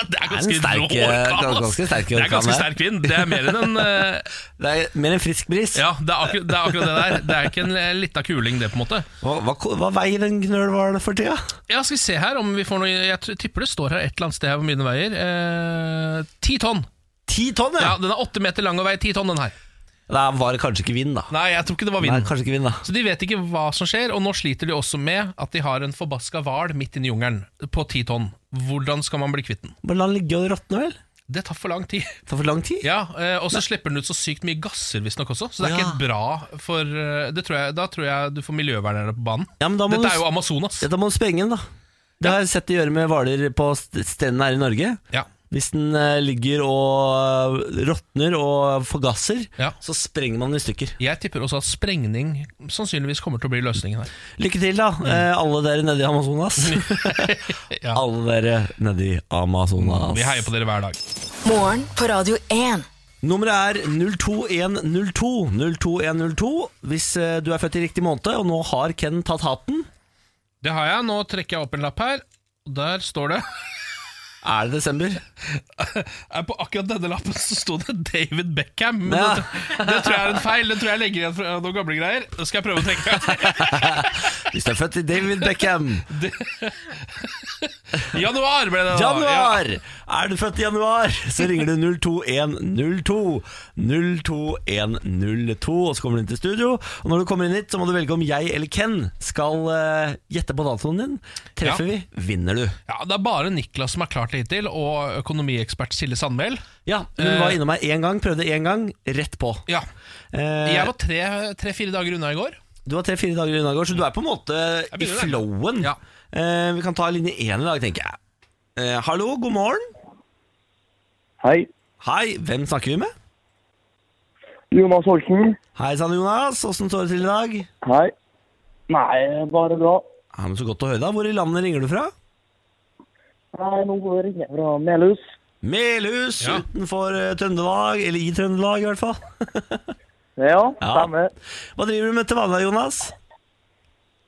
Speaker 2: Det er ganske
Speaker 1: en sterk,
Speaker 2: rå orkan,
Speaker 1: eh,
Speaker 2: ass.
Speaker 1: ganske sterk
Speaker 2: Det er ganske
Speaker 1: orkan,
Speaker 2: sterk vind. Det er mer enn en eh,
Speaker 1: Det er mer en frisk bris.
Speaker 2: Ja, det er, akkur det er akkurat det der. Det er ikke en eh, lita kuling, det, på en måte.
Speaker 1: Hva, hva, hva veier en knølhval for tida?
Speaker 2: Ja, Skal vi se her om vi får noe Jeg t- tipper det står her et eller annet sted her hvor mye den veier. Eh, Ti tonn!
Speaker 1: Ti tonn,
Speaker 2: Ja,
Speaker 1: ja!
Speaker 2: Den er åtte meter lang og veier ti tonn, den her.
Speaker 1: Det var kanskje ikke vind, da.
Speaker 2: Nei, jeg tror ikke det var
Speaker 1: Nei,
Speaker 2: vind.
Speaker 1: kanskje ikke vind, da.
Speaker 2: Så de vet ikke hva som skjer, og nå sliter de også med at de har en forbaska hval midt inni jungelen på ti tonn. Hvordan skal man bli kvitt den?
Speaker 1: Bare la den ligge og råtne, vel?
Speaker 2: Det tar for lang tid.
Speaker 1: Det tar for lang tid.
Speaker 2: Ja, eh, Og så slipper den ut så sykt mye gasser, visstnok også, så det er
Speaker 1: Ja.
Speaker 2: ikke helt bra for eh, det tror jeg, Da tror jeg du får miljøvernere på banen.
Speaker 1: Ja, men da må
Speaker 2: Dette er
Speaker 1: du-
Speaker 2: jo Amazonas.
Speaker 1: Ja, da må du sprenge den, da. Det har jeg sett de gjøre med hvaler på st- strendene her i Norge.
Speaker 2: Ja.
Speaker 1: Hvis den eh, ligger og eh, råtner og forgasser,
Speaker 2: Ja.
Speaker 1: så sprenger man den i stykker.
Speaker 2: Jeg tipper også at sprengning sannsynligvis kommer til å bli løsningen her.
Speaker 1: Lykke til, da, eh, alle dere nede i Amazonas.
Speaker 2: Mm. Ja.
Speaker 1: alle dere nede i Amazonas.
Speaker 2: Vi heier på dere hver dag.
Speaker 4: Morgen på Radio 1.
Speaker 1: Nummeret er 02102. 02102 Hvis eh, du er født i riktig måned, og nå har Ken tatt hatten,
Speaker 2: Det har jeg. Nå trekker jeg opp en lapp her. Og Der står det
Speaker 1: er det desember.
Speaker 2: Eh, På akkurat denne lappen så sto det David Beckham. Men
Speaker 1: Ja.
Speaker 2: det, det tror jeg er en feil. Det tror jeg legger igjen fra noen gamle greier. Det skal jeg prøve å trekke.
Speaker 1: Hvis du er født i David Beckham.
Speaker 2: Januar ble det. da. Ja.
Speaker 1: Januar! Er du født i januar, så ringer du 02102. 02102, og så kommer du inn til studio. Og når du kommer inn hit, så må du velge om jeg eller Ken skal eh, gjette på datoen din. Treffer vi, vinner du.
Speaker 2: Ja, det er bare Niklas som har klart det hittil, og økonomiekspert Silje Sandmæl.
Speaker 1: Ja, hun var innom meg én gang, prøvde én gang, rett på.
Speaker 2: eh, Ja.
Speaker 1: Eh,
Speaker 2: Jeg var tre- tre-fire dager unna i går.
Speaker 1: Du var tre-fire dager unna i går, så du er på en måte i
Speaker 2: begynner der.
Speaker 1: flowen.
Speaker 2: Ja.
Speaker 1: Eh, vi kan ta linje én i dag, tenker jeg. Eh, hallo, god morgen.
Speaker 6: Hei.
Speaker 1: Hei, hvem snakker vi med?
Speaker 6: Jonas Holken.
Speaker 1: Hei sann, Jonas. Åssen står det til i dag?
Speaker 6: Hei. Nei, bare bra.
Speaker 1: Ja, men Så godt å høre deg. Hvor i landet ringer du fra?
Speaker 6: Nei, nå ringer jeg fra Melhus.
Speaker 1: Melhus
Speaker 2: Ja.
Speaker 1: utenfor eh, Trøndelag, eller i Trøndelag i hvert fall.
Speaker 6: Ja,
Speaker 1: Ja.
Speaker 6: stemmer.
Speaker 1: Hva driver du med til vanlig, Jonas?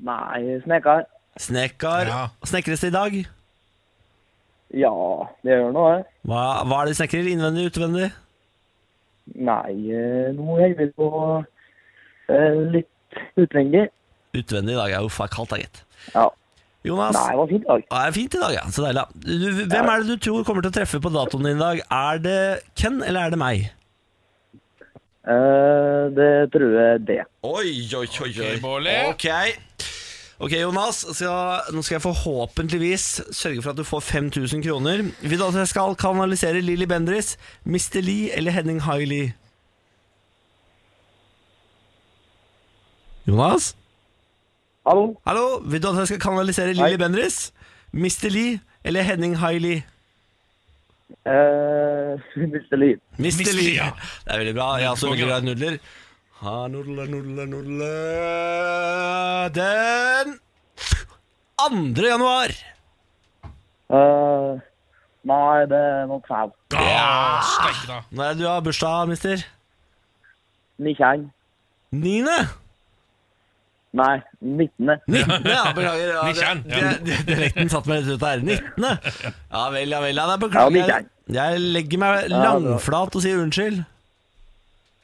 Speaker 6: Nei, snekker.
Speaker 1: Snekker.
Speaker 2: Ja.
Speaker 1: Snekres det i dag?
Speaker 6: Ja, det gjør noe. jeg.
Speaker 1: Hva, hva er det de snekrer? Innvendig, utvendig?
Speaker 6: Nei, eh, nå henger vi på eh, litt utvendig.
Speaker 1: Utvendig i dag. Ja, uff, det er kaldt da, gitt.
Speaker 6: Ja.
Speaker 1: Jonas?
Speaker 6: Nei, det var en fin dag.
Speaker 1: Ja, Det er fint i dag, ja. Så deilig. da. Du, hvem er det du tror kommer til å treffe på datoen din i dag? Er det Ken, eller er det meg?
Speaker 6: Eh, det tror jeg det.
Speaker 1: Oi, oi, oi, oi.
Speaker 2: Ok, Bårli.
Speaker 1: Ok, Ok, Jonas. Skal, nå skal jeg forhåpentligvis sørge for at du får 5000 kroner. Vil du at jeg skal kanalisere Lilly Bendris, Mr. Lee eller Henning Hailey? Jonas?
Speaker 6: Hallo?
Speaker 1: Hallo, vil du at jeg skal kanalisere Lilly Bendris? Mr. Lee eller Henning Hailey?
Speaker 6: Eh, Mr. Lien.
Speaker 1: Mr. Lee. Det er veldig bra. Jeg er også veldig
Speaker 2: Konge, da.
Speaker 1: glad i nudler. Ha nudler, nudler, nudler Den 2. januar.
Speaker 6: Eh, nei, det er noe feil.
Speaker 2: Ja, steik da.
Speaker 1: Når er det du har bursdag, mister?
Speaker 6: Nikkjeng.
Speaker 1: 9. 19.
Speaker 6: Nei, 19.
Speaker 1: Ja, beklager. Ja,
Speaker 2: Nikkjern,
Speaker 1: det-
Speaker 2: ja.
Speaker 1: det- Dialekten satt meg rett ut der. 19. Ja vel, ja vel. Ja, det er
Speaker 6: Ja,
Speaker 1: beklager. Jeg,
Speaker 6: nikkjern.
Speaker 1: jeg legger meg
Speaker 6: Ja, bra.
Speaker 1: langflat og sier unnskyld.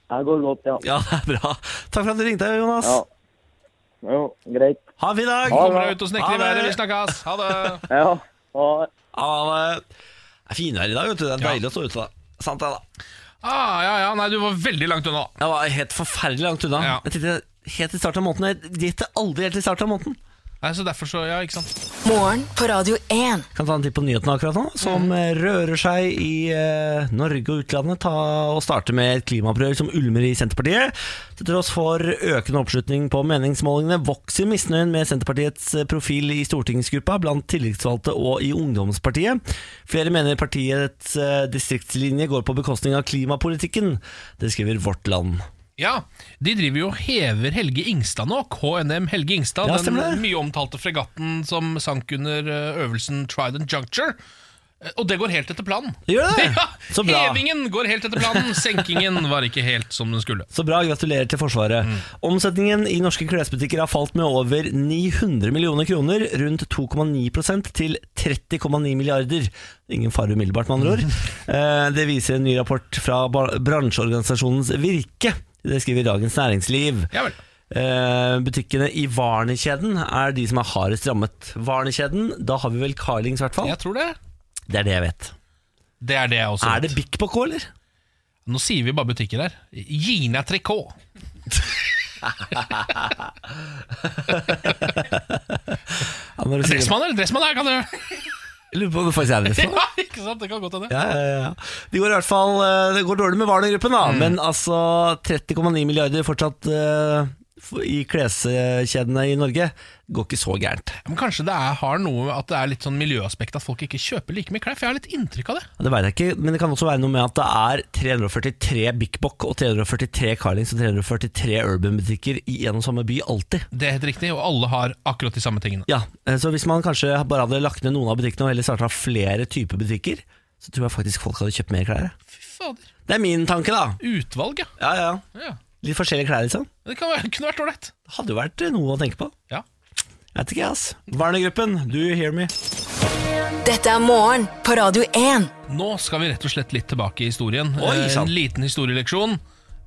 Speaker 6: Det går godt, ja.
Speaker 1: Ja, det er bra. Takk for at du ringte, Jonas.
Speaker 6: Ja. Jo, greit.
Speaker 1: Ha en fin dag.
Speaker 6: Ha
Speaker 2: Kommer deg ut og snekrer i
Speaker 1: Ha det.
Speaker 2: været. Vi snakkes. Ha det.
Speaker 6: Ja. Ha det.
Speaker 1: Ha det. Det er finvær i dag, vet du. Det er deilig å stå ute da. Sant det, da.
Speaker 2: Ah, ja, ja. Nei, du var veldig langt unna.
Speaker 1: Jeg var helt forferdelig langt unna.
Speaker 2: Ja.
Speaker 1: Jeg tenkte helt i starten av måneden. Jeg gjetter aldri helt i starten av måneden.
Speaker 2: Nei, så derfor så, ja, ikke sant.
Speaker 4: Morgen på Radio 1.
Speaker 1: Kan ta en titt på nyhetene akkurat nå, som eh, rører seg i eh, Norge og utlandet. Ta og Starte med et klimaopprør som ulmer i Senterpartiet. Til tross for økende oppslutning på meningsmålingene vokser misnøyen med Senterpartiets eh, profil i stortingsgruppa, blant tillitsvalgte og i ungdomspartiet. Flere mener partiets eh, distriktslinje går på bekostning av klimapolitikken. Det skriver Vårt Land.
Speaker 2: Ja, De driver jo og hever Helge Ingstad nå. KNM Helge Ingstad.
Speaker 1: Ja,
Speaker 2: den
Speaker 1: stemmer det.
Speaker 2: mye omtalte fregatten som sank under eh, øvelsen Trident Juncture. Eh, Og det går helt etter planen.
Speaker 1: Gjør det?
Speaker 2: Ja,
Speaker 1: Så bra.
Speaker 2: Hevingen går helt etter planen, senkingen var ikke helt som den skulle.
Speaker 1: Så bra, gratulerer til Forsvaret. Omsetningen i norske klesbutikker har falt med over 900 millioner kroner, rundt 2,9 til 30,9 milliarder. Ingen fare umiddelbart, med andre ord. Eh, Det viser en ny rapport fra ba- bransjeorganisasjonens Virke. Det skriver Dagens Næringsliv.
Speaker 2: Ja vel.
Speaker 1: Eh, Butikkene i Varnekjeden er de som er hardest rammet. Varnekjeden, da har vi vel Carlings i hvert fall.
Speaker 2: Jeg tror det.
Speaker 1: Det er det jeg vet.
Speaker 2: Det er det jeg også
Speaker 1: Er det Bic på K, eller?
Speaker 2: Nå sier vi bare butikker her. Gina Tricot.
Speaker 1: Ja, når du sier det.
Speaker 2: Dressmann eller dressmann her, kan du
Speaker 1: Jeg Lurer på om det faktisk er det. liksom.
Speaker 2: Ja, ikke sant? Det kan godt hende.
Speaker 1: Ja, ja, ja. Det går i hvert fall eh, Det går dårlig med Warner-gruppen, da. Men altså 30,9 milliarder fortsatt eh, f- i kleskjedene i Norge går ikke så gærent.
Speaker 2: Men kanskje det er, har noe at det er litt sånn miljøaspekt at folk ikke kjøper like mye klær? For jeg har litt inntrykk av det.
Speaker 1: Det veit jeg ikke, men det kan også være noe med at det er 343 Big Bock og 343 Carlings og 343 Urban-butikker i en og samme by alltid.
Speaker 2: Det er helt riktig, og alle har akkurat de samme tingene.
Speaker 1: Ja, eh, Så hvis man kanskje bare hadde lagt ned noen av butikkene og heller starta flere typer butikker, så tror jeg faktisk folk hadde kjøpt mer klær. jeg.
Speaker 2: Fy fader.
Speaker 1: Det er min tanke, da.
Speaker 2: Utvalg, ja.
Speaker 1: Ja, ja.
Speaker 2: ja.
Speaker 1: Litt forskjellige klær, liksom.
Speaker 2: Det kan være, kunne vært ålreit.
Speaker 1: Det hadde jo vært eh, noe å tenke på.
Speaker 2: Ja.
Speaker 1: Jeg vet ikke, ass. Warner-gruppen, do you hear me?
Speaker 4: Dette er morgen på Radio 1.
Speaker 2: Nå skal vi rett og slett litt tilbake i historien.
Speaker 1: Oi,
Speaker 2: Eh,
Speaker 1: sant.
Speaker 2: en liten historieleksjon.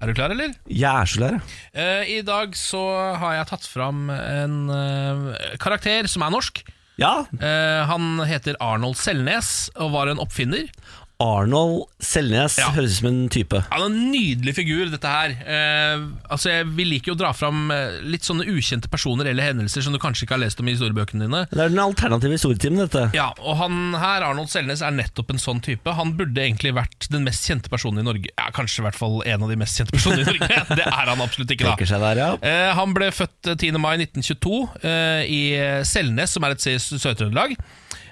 Speaker 2: Er du klar, eller?
Speaker 1: Jeg er så lærer.
Speaker 2: Eh, I dag så har jeg tatt fram en eh, karakter som er norsk.
Speaker 1: Ja,
Speaker 2: Eh, han heter Arnold Selnes og var en oppfinner.
Speaker 1: Arnold Selnes
Speaker 2: Ja.
Speaker 1: høres ut som en type.
Speaker 2: Han er en nydelig figur, dette her. Eh, altså, jeg, Vi liker jo å dra fram eh, litt sånne ukjente personer eller hendelser som du kanskje ikke har lest om i historiebøkene dine.
Speaker 1: Det er den alternative historietimen, dette.
Speaker 2: Ja, og han her, Arnold Selnes, er nettopp en sånn type. Han burde egentlig vært den mest kjente personen i Norge. Ja, Kanskje i hvert fall en av de mest kjente personene i Norge. Det er han absolutt ikke,
Speaker 1: Tenker
Speaker 2: da.
Speaker 1: seg der, ja.
Speaker 2: Eh, han ble født eh, 10. mai 1922 eh, i Selnes, som er et sted i Sø- Sør-Trøndelag.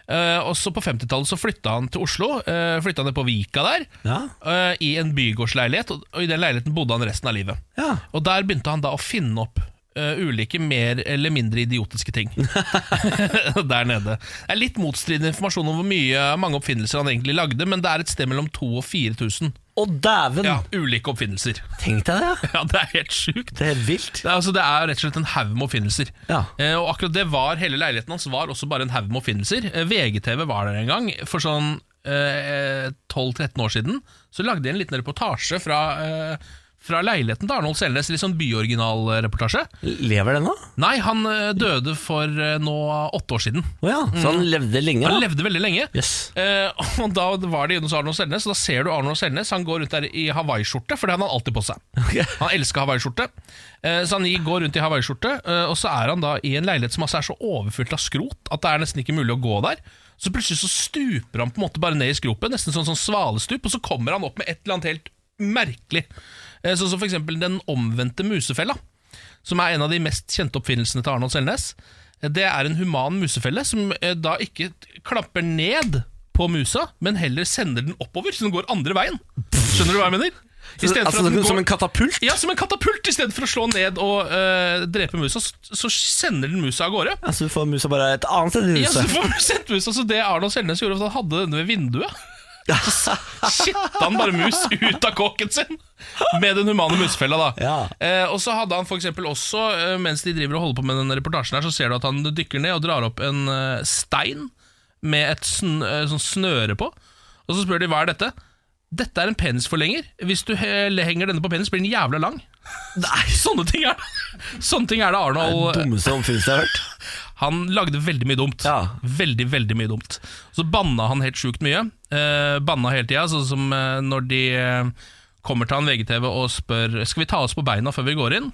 Speaker 2: Eh, og så På 50-tallet så flytta han til Oslo. Eh, flytta ned på Vika der,
Speaker 1: Ja,
Speaker 2: eh, i en bygårdsleilighet. Og, og I den leiligheten bodde han resten av livet.
Speaker 1: ja.
Speaker 2: Og der begynte han da å finne opp eh, ulike mer eller mindre idiotiske ting der nede. Det er litt motstridende informasjon om hvor mye, mange oppfinnelser han egentlig lagde, men det er et sted mellom 2000 og 4000
Speaker 1: Å, dæven!
Speaker 2: ja, ulike oppfinnelser.
Speaker 1: Tenk deg det, ja.
Speaker 2: Ja, det er helt sjukt.
Speaker 1: Det er helt vilt.
Speaker 2: Det er, altså, det er rett og slett en haug med oppfinnelser.
Speaker 1: Ja.
Speaker 2: Eh, og akkurat det var hele leiligheten hans var også bare en haug med oppfinnelser. Eh, VGTV var der en gang for sånn eh, 12-13 år siden. Så lagde de en liten reportasje fra, eh, fra leiligheten til Arnold Selnes. Litt sånn byoriginalreportasje.
Speaker 1: Lever den nå?
Speaker 2: Nei, han eh, døde for eh, nå åtte år siden.
Speaker 1: Å ja, så han levde lenge,
Speaker 2: Mm. Han
Speaker 1: da?
Speaker 2: levde veldig lenge.
Speaker 1: Yes.
Speaker 2: Eh, og da var det inne hos Arnold Selnes, og da ser du Arnold Selnes. Han går rundt der i hawaiiskjorte, for det hadde han alltid på seg. Han elska hawaiiskjorte. Eh, så han går rundt i hawaiiskjorte, eh, og så er han da i en leilighet som altså er så overfylt av skrot at det er nesten ikke mulig å gå der. Så plutselig så stuper han på en måte bare ned i skropet, nesten sånn, sånn svalestup, og så kommer han opp med et eller annet helt merkelig. Eh, sånn som for eksempel den omvendte musefella som er en av de mest kjente oppfinnelsene til Arnold Selnes. Det er en human musefelle som eh, da ikke t- klapper ned på musa, men heller sender den oppover, så den går andre veien. Skjønner du hva jeg mener? I stedet
Speaker 1: altså,
Speaker 2: for at den
Speaker 1: Som
Speaker 2: går,
Speaker 1: en katapult?
Speaker 2: ja, som en katapult! Istedenfor å slå ned og eh, drepe musa, så, så sender den musa av gårde.
Speaker 1: Ja, så Altså, du får musa bare et annet sted i
Speaker 2: Ja, så
Speaker 1: huset?
Speaker 2: får du sendt musa, så Det Arnold Selnes gjorde, var at han hadde denne ved vinduet. Shitta han bare mus ut av kåken sin med den humane musefella. da
Speaker 1: Ja.
Speaker 2: eh, Og så hadde han for eksempel også, eh, mens de driver og holder på med den reportasjen, her Så ser du at han dykker ned og drar opp en eh, stein med et sn eh, sånn snøre på. Og så spør de hva er dette Dette er en penisforlenger. Hvis du he henger denne på penis, blir den jævla lang. Sånne ting er det Sånne ting er det Arnold eh,
Speaker 1: Det dummeste oppfinnelsen jeg har hørt.
Speaker 2: han lagde veldig mye dumt.
Speaker 1: Ja.
Speaker 2: Veldig, veldig mye dumt. Så banna han helt sjukt mye. Eh, banna hele tida, sånn som eh, når de eh, kommer til han VGTV og spør Skal vi ta oss på beina før vi går inn.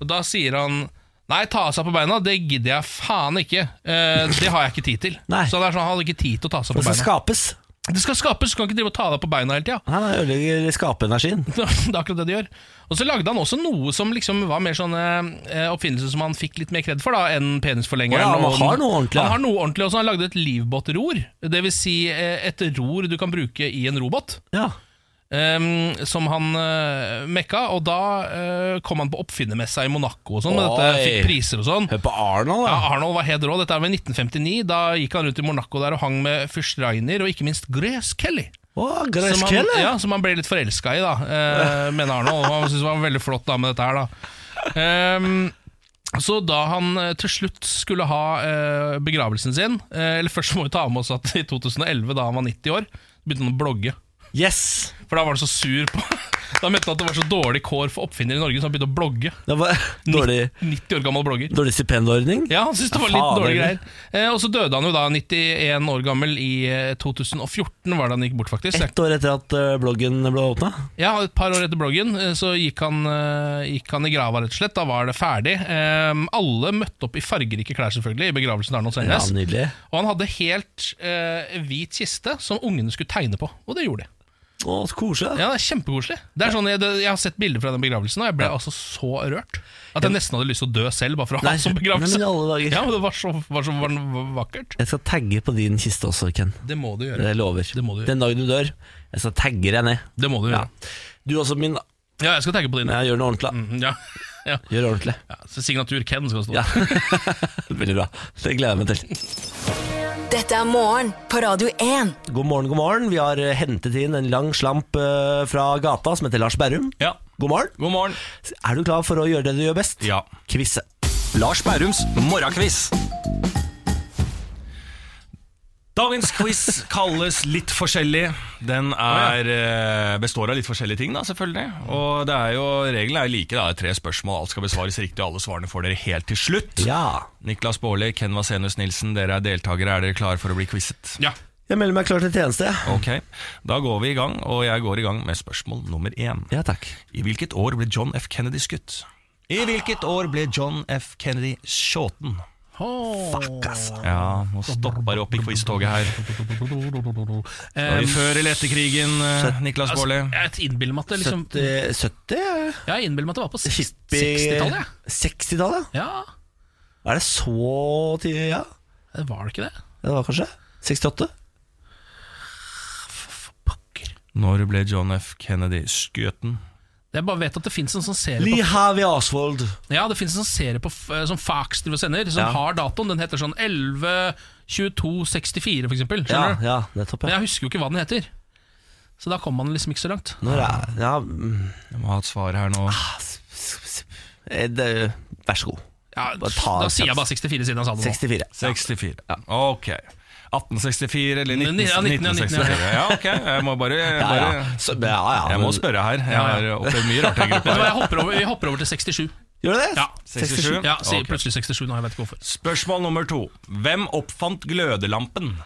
Speaker 2: Og Da sier han Nei, ta av seg på beina, det gidder jeg faen ikke. Eh, det har jeg ikke tid til.
Speaker 1: Nei.
Speaker 2: Så det er sånn, Han hadde ikke tid til å ta seg på
Speaker 1: Det skal
Speaker 2: beina.
Speaker 1: skapes.
Speaker 2: Det skal skapes, du kan ikke drive og ta deg på beina hele tida.
Speaker 1: Han ødelegger skapeenergien.
Speaker 2: Det er akkurat det de gjør. Og så lagde han også noe som liksom var mer sånn eh, oppfinnelse som han fikk litt mer kred for, da, enn penisforlengeren.
Speaker 1: Å ja, han
Speaker 2: og den-
Speaker 1: har noe ordentlig, ja.
Speaker 2: Han har noe ordentlig også. Han lagde et livbåtror. Det vil si eh, et ror du kan bruke i en robåt.
Speaker 1: Ja.
Speaker 2: ehm, som han eh, mekka, og da eh, kom han på oppfinnermessa i Monaco og sånn. med
Speaker 1: Oi.
Speaker 2: dette, Fikk priser og sånn.
Speaker 1: Hør på Arnold,
Speaker 2: Ja,
Speaker 1: da.
Speaker 2: Arnold var helt rå. Dette er ved 1959. Da gikk han rundt i Monaco der og hang med fyrst Rainer og ikke minst Grace Kelly.
Speaker 1: Å,
Speaker 2: Som han,
Speaker 1: gresskelle.
Speaker 2: ja, som han ble litt forelska i, da, eh, mener Arnold. Han syntes det var veldig flott da, med dette her. da Ehm, Så da han eh, til slutt skulle ha eh, begravelsen sin eh, Eller først må vi ta med oss at i 2011, da han var 90 år, begynte han å blogge.
Speaker 1: Yes!
Speaker 2: For da var han så sur på Da mente han at det var så dårlig kår for oppfinnere i Norge, så han begynte å blogge.
Speaker 1: Det var dårlig,
Speaker 2: 90 år gammel blogger.
Speaker 1: dårlig stipendordning.
Speaker 2: Ja, han syntes det var
Speaker 1: Ja,
Speaker 2: litt
Speaker 1: faen,
Speaker 2: dårlige
Speaker 1: eller?
Speaker 2: greier. Eh, og så døde han jo da, 91 år gammel, i eh, 2014 var det han gikk bort, faktisk. Så jeg-
Speaker 1: Ett år etter at eh, bloggen ble åpna.
Speaker 2: Ja, et par år etter bloggen eh, så gikk han, eh, gikk han i grava, rett og slett. Da var det ferdig. Eh, alle møtte opp i fargerike klær, selvfølgelig, i begravelsen til Arnold
Speaker 1: Ja,
Speaker 2: Selnes.
Speaker 1: nydelig.
Speaker 2: og han hadde helt eh, hvit kiste som ungene skulle tegne på, og det gjorde de.
Speaker 1: Å, så koselig. da.
Speaker 2: Ja, det er Kjempekoselig. Det er sånn, jeg, det- jeg har sett bilder fra den begravelsen, og jeg ble altså så rørt at jeg nesten hadde lyst til å dø selv, bare for å ha
Speaker 1: Nei,
Speaker 2: det som
Speaker 1: nei,
Speaker 2: begravelse.
Speaker 1: men i alle dager.
Speaker 2: Ja, men Det var så, var så var vakkert.
Speaker 1: Jeg skal tagge på din kiste også, Ken.
Speaker 2: Det må du
Speaker 1: Det
Speaker 2: gjøre.
Speaker 1: lover.
Speaker 2: Det må du gjøre.
Speaker 1: Den dagen du dør, jeg skal tagge deg ned.
Speaker 2: Det må du
Speaker 1: Ja.
Speaker 2: gjøre.
Speaker 1: Du også, min. da.
Speaker 2: Ja, jeg skal tenke på din.
Speaker 1: Ja, gjør det ordentlig. da.
Speaker 2: Ja. Ja.
Speaker 1: Gjør det ordentlig.
Speaker 2: Mm. Ja, så signatur Ken skal det stå.
Speaker 1: Ja. Veldig bra. Det gleder jeg meg til.
Speaker 4: Dette er morgen på Radio 1.
Speaker 1: God morgen, god morgen. Vi har eh, hentet inn en lang slamp eh, fra gata som heter Lars Berrum.
Speaker 5: Ja.
Speaker 1: God morgen.
Speaker 5: God morgen.
Speaker 1: Er du klar for å gjøre det du gjør best?
Speaker 5: Ja.
Speaker 1: Kvisse.
Speaker 7: Lars Bærums morgenquiz. Dagens quiz kalles litt forskjellig. Den er, eh, består av litt forskjellige ting, da, selvfølgelig. Og det er jo, reglene er jo like. Da. Det er tre spørsmål, alt skal besvares riktig, og alle svarene får dere helt til slutt.
Speaker 1: Ja.
Speaker 7: Niklas Baarli, Ken Vasenus Nilsen, dere er deltakere. Er dere klare for å bli quizet?
Speaker 2: Ja.
Speaker 1: Jeg melder meg klar til tjeneste.
Speaker 7: Ok, Da går vi i gang, og jeg går i gang med spørsmål nummer én.
Speaker 1: Ja, takk.
Speaker 7: I hvilket år ble John F. Kennedy skutt? I hvilket år ble John F. Kennedy skjåten?
Speaker 2: Fuck,
Speaker 7: Ja, nå stopper det opp i quiz-toget her. Var
Speaker 2: Um,
Speaker 7: det før eller etter krigen, eh, Niklas
Speaker 2: altså,
Speaker 7: Baarli?
Speaker 2: jeg innbiller meg at det liksom
Speaker 1: 70, 70 ja.
Speaker 2: Jeg innbiller meg at det var på seks-
Speaker 1: Hippie-
Speaker 2: 60-tallet.
Speaker 1: 60-tallet,
Speaker 2: jeg. Ja,
Speaker 1: ja. Er det så tidlig? Ja,
Speaker 2: det var det ikke det?
Speaker 1: det var kanskje 68?
Speaker 2: Pokker.
Speaker 7: Når ble John F. Kennedy skutt?
Speaker 2: Jeg bare vet at det fins en sånn serie
Speaker 1: Lee
Speaker 2: på,
Speaker 1: Harvey Oswald.
Speaker 2: Ja, det finnes en sånn serie på, f- som Fax driver og sender, som
Speaker 1: Ja.
Speaker 2: har datoen. Den heter sånn 11.22.64, for eksempel.
Speaker 1: Ja,
Speaker 2: Skjønner du?
Speaker 1: ja, nettopp.
Speaker 2: Men
Speaker 1: Ja.
Speaker 2: jeg husker jo ikke hva den heter. Så da kom man liksom ikke så langt.
Speaker 1: Når er, ja mm,
Speaker 7: Jeg må ha et svar her nå.
Speaker 1: ah, s- s- s- eh, det, Vær så god.
Speaker 2: Ja,
Speaker 1: Bare ta
Speaker 2: da sier jeg
Speaker 1: en
Speaker 2: bare 64 siden han sa det nå.
Speaker 1: 64.
Speaker 7: 64. Ok.
Speaker 5: 1864 eller 19,
Speaker 2: Ja, 19, ja,
Speaker 5: 1964.
Speaker 2: 19,
Speaker 5: Ja, ok, jeg må bare, jeg,
Speaker 1: Ja, ja.
Speaker 5: bare
Speaker 1: Så, ja, ja,
Speaker 5: Jeg må
Speaker 1: men-
Speaker 5: spørre her. Jeg
Speaker 2: Ja, ja.
Speaker 5: har opplevd mye rart i
Speaker 2: Vet du
Speaker 5: gruppa.
Speaker 2: hva, jeg hopper over, Vi hopper over til 67.
Speaker 1: Gjør du det?
Speaker 2: Ja,
Speaker 5: 67?
Speaker 2: Ja, si,
Speaker 5: Ok.
Speaker 2: Plutselig 67 nå, jeg vet ikke hvorfor.
Speaker 5: Spørsmål nummer to. Hvem oppfant glødelampen?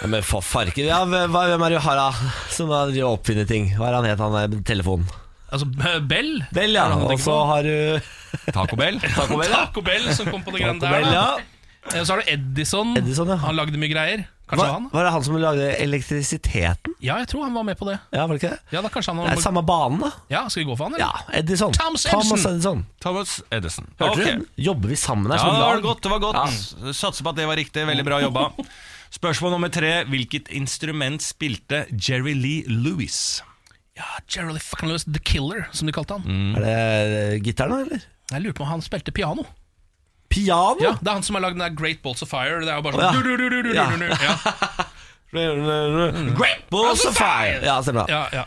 Speaker 1: Ja, men for farken, ja, hvem hva- hvem er det vi har da som har drevet og oppfunnet ting? Hva er han het, han der med telefonen?
Speaker 2: Altså, B- Bell?
Speaker 1: Bell, ja.
Speaker 2: Er det han
Speaker 1: Og
Speaker 2: tenker
Speaker 1: så
Speaker 2: på?
Speaker 1: har du
Speaker 5: Taco Bell?
Speaker 1: Taco Bell, ja.
Speaker 2: Taco Bell som kom på det greiene
Speaker 1: Taco
Speaker 2: der.
Speaker 1: Bell,
Speaker 2: da.
Speaker 1: ja.
Speaker 2: Eh, Så har du Edison.
Speaker 1: Edison, ja.
Speaker 2: Han lagde mye greier. Kanskje
Speaker 1: Var,
Speaker 2: han?
Speaker 1: var det han som lagde elektrisiteten?
Speaker 2: Ja, jeg tror han var med på det.
Speaker 1: Ja, var det ikke det?
Speaker 2: Ja, da kanskje han
Speaker 1: Det
Speaker 2: var
Speaker 1: er samme banen, da.
Speaker 2: Ja, Skal vi gå for han,
Speaker 1: Ja,
Speaker 2: eller?
Speaker 1: Edison.
Speaker 2: Thomas
Speaker 1: Thomas
Speaker 2: Edison.
Speaker 1: Edison.
Speaker 5: Thomas Edison.
Speaker 1: Hørte
Speaker 5: Ok.
Speaker 1: du? Jobber vi sammen her?
Speaker 5: Ja,
Speaker 1: som
Speaker 5: det var
Speaker 1: lag?
Speaker 5: godt. det var godt Satser på at det var riktig. Veldig bra jobba. Spørsmål nummer tre. Hvilket instrument spilte Jerry Lee Lewis?
Speaker 2: Ja, Ah, Gerald fucking Lewis, The Killer, som de kalte han.
Speaker 1: Er det eh, gitaren, da, eller?
Speaker 2: Jeg lurer på om han spilte piano.
Speaker 1: Piano?
Speaker 2: Ja, Det er han som har lagd den der Great Balls of Fire. Det er jo
Speaker 1: Å,
Speaker 2: bare
Speaker 1: ja.
Speaker 2: sånn du, du, du, du, du, du, du. Ja.
Speaker 1: Great Balls of Fire! Mm. Ja, stemmer det.
Speaker 2: Ja, ja.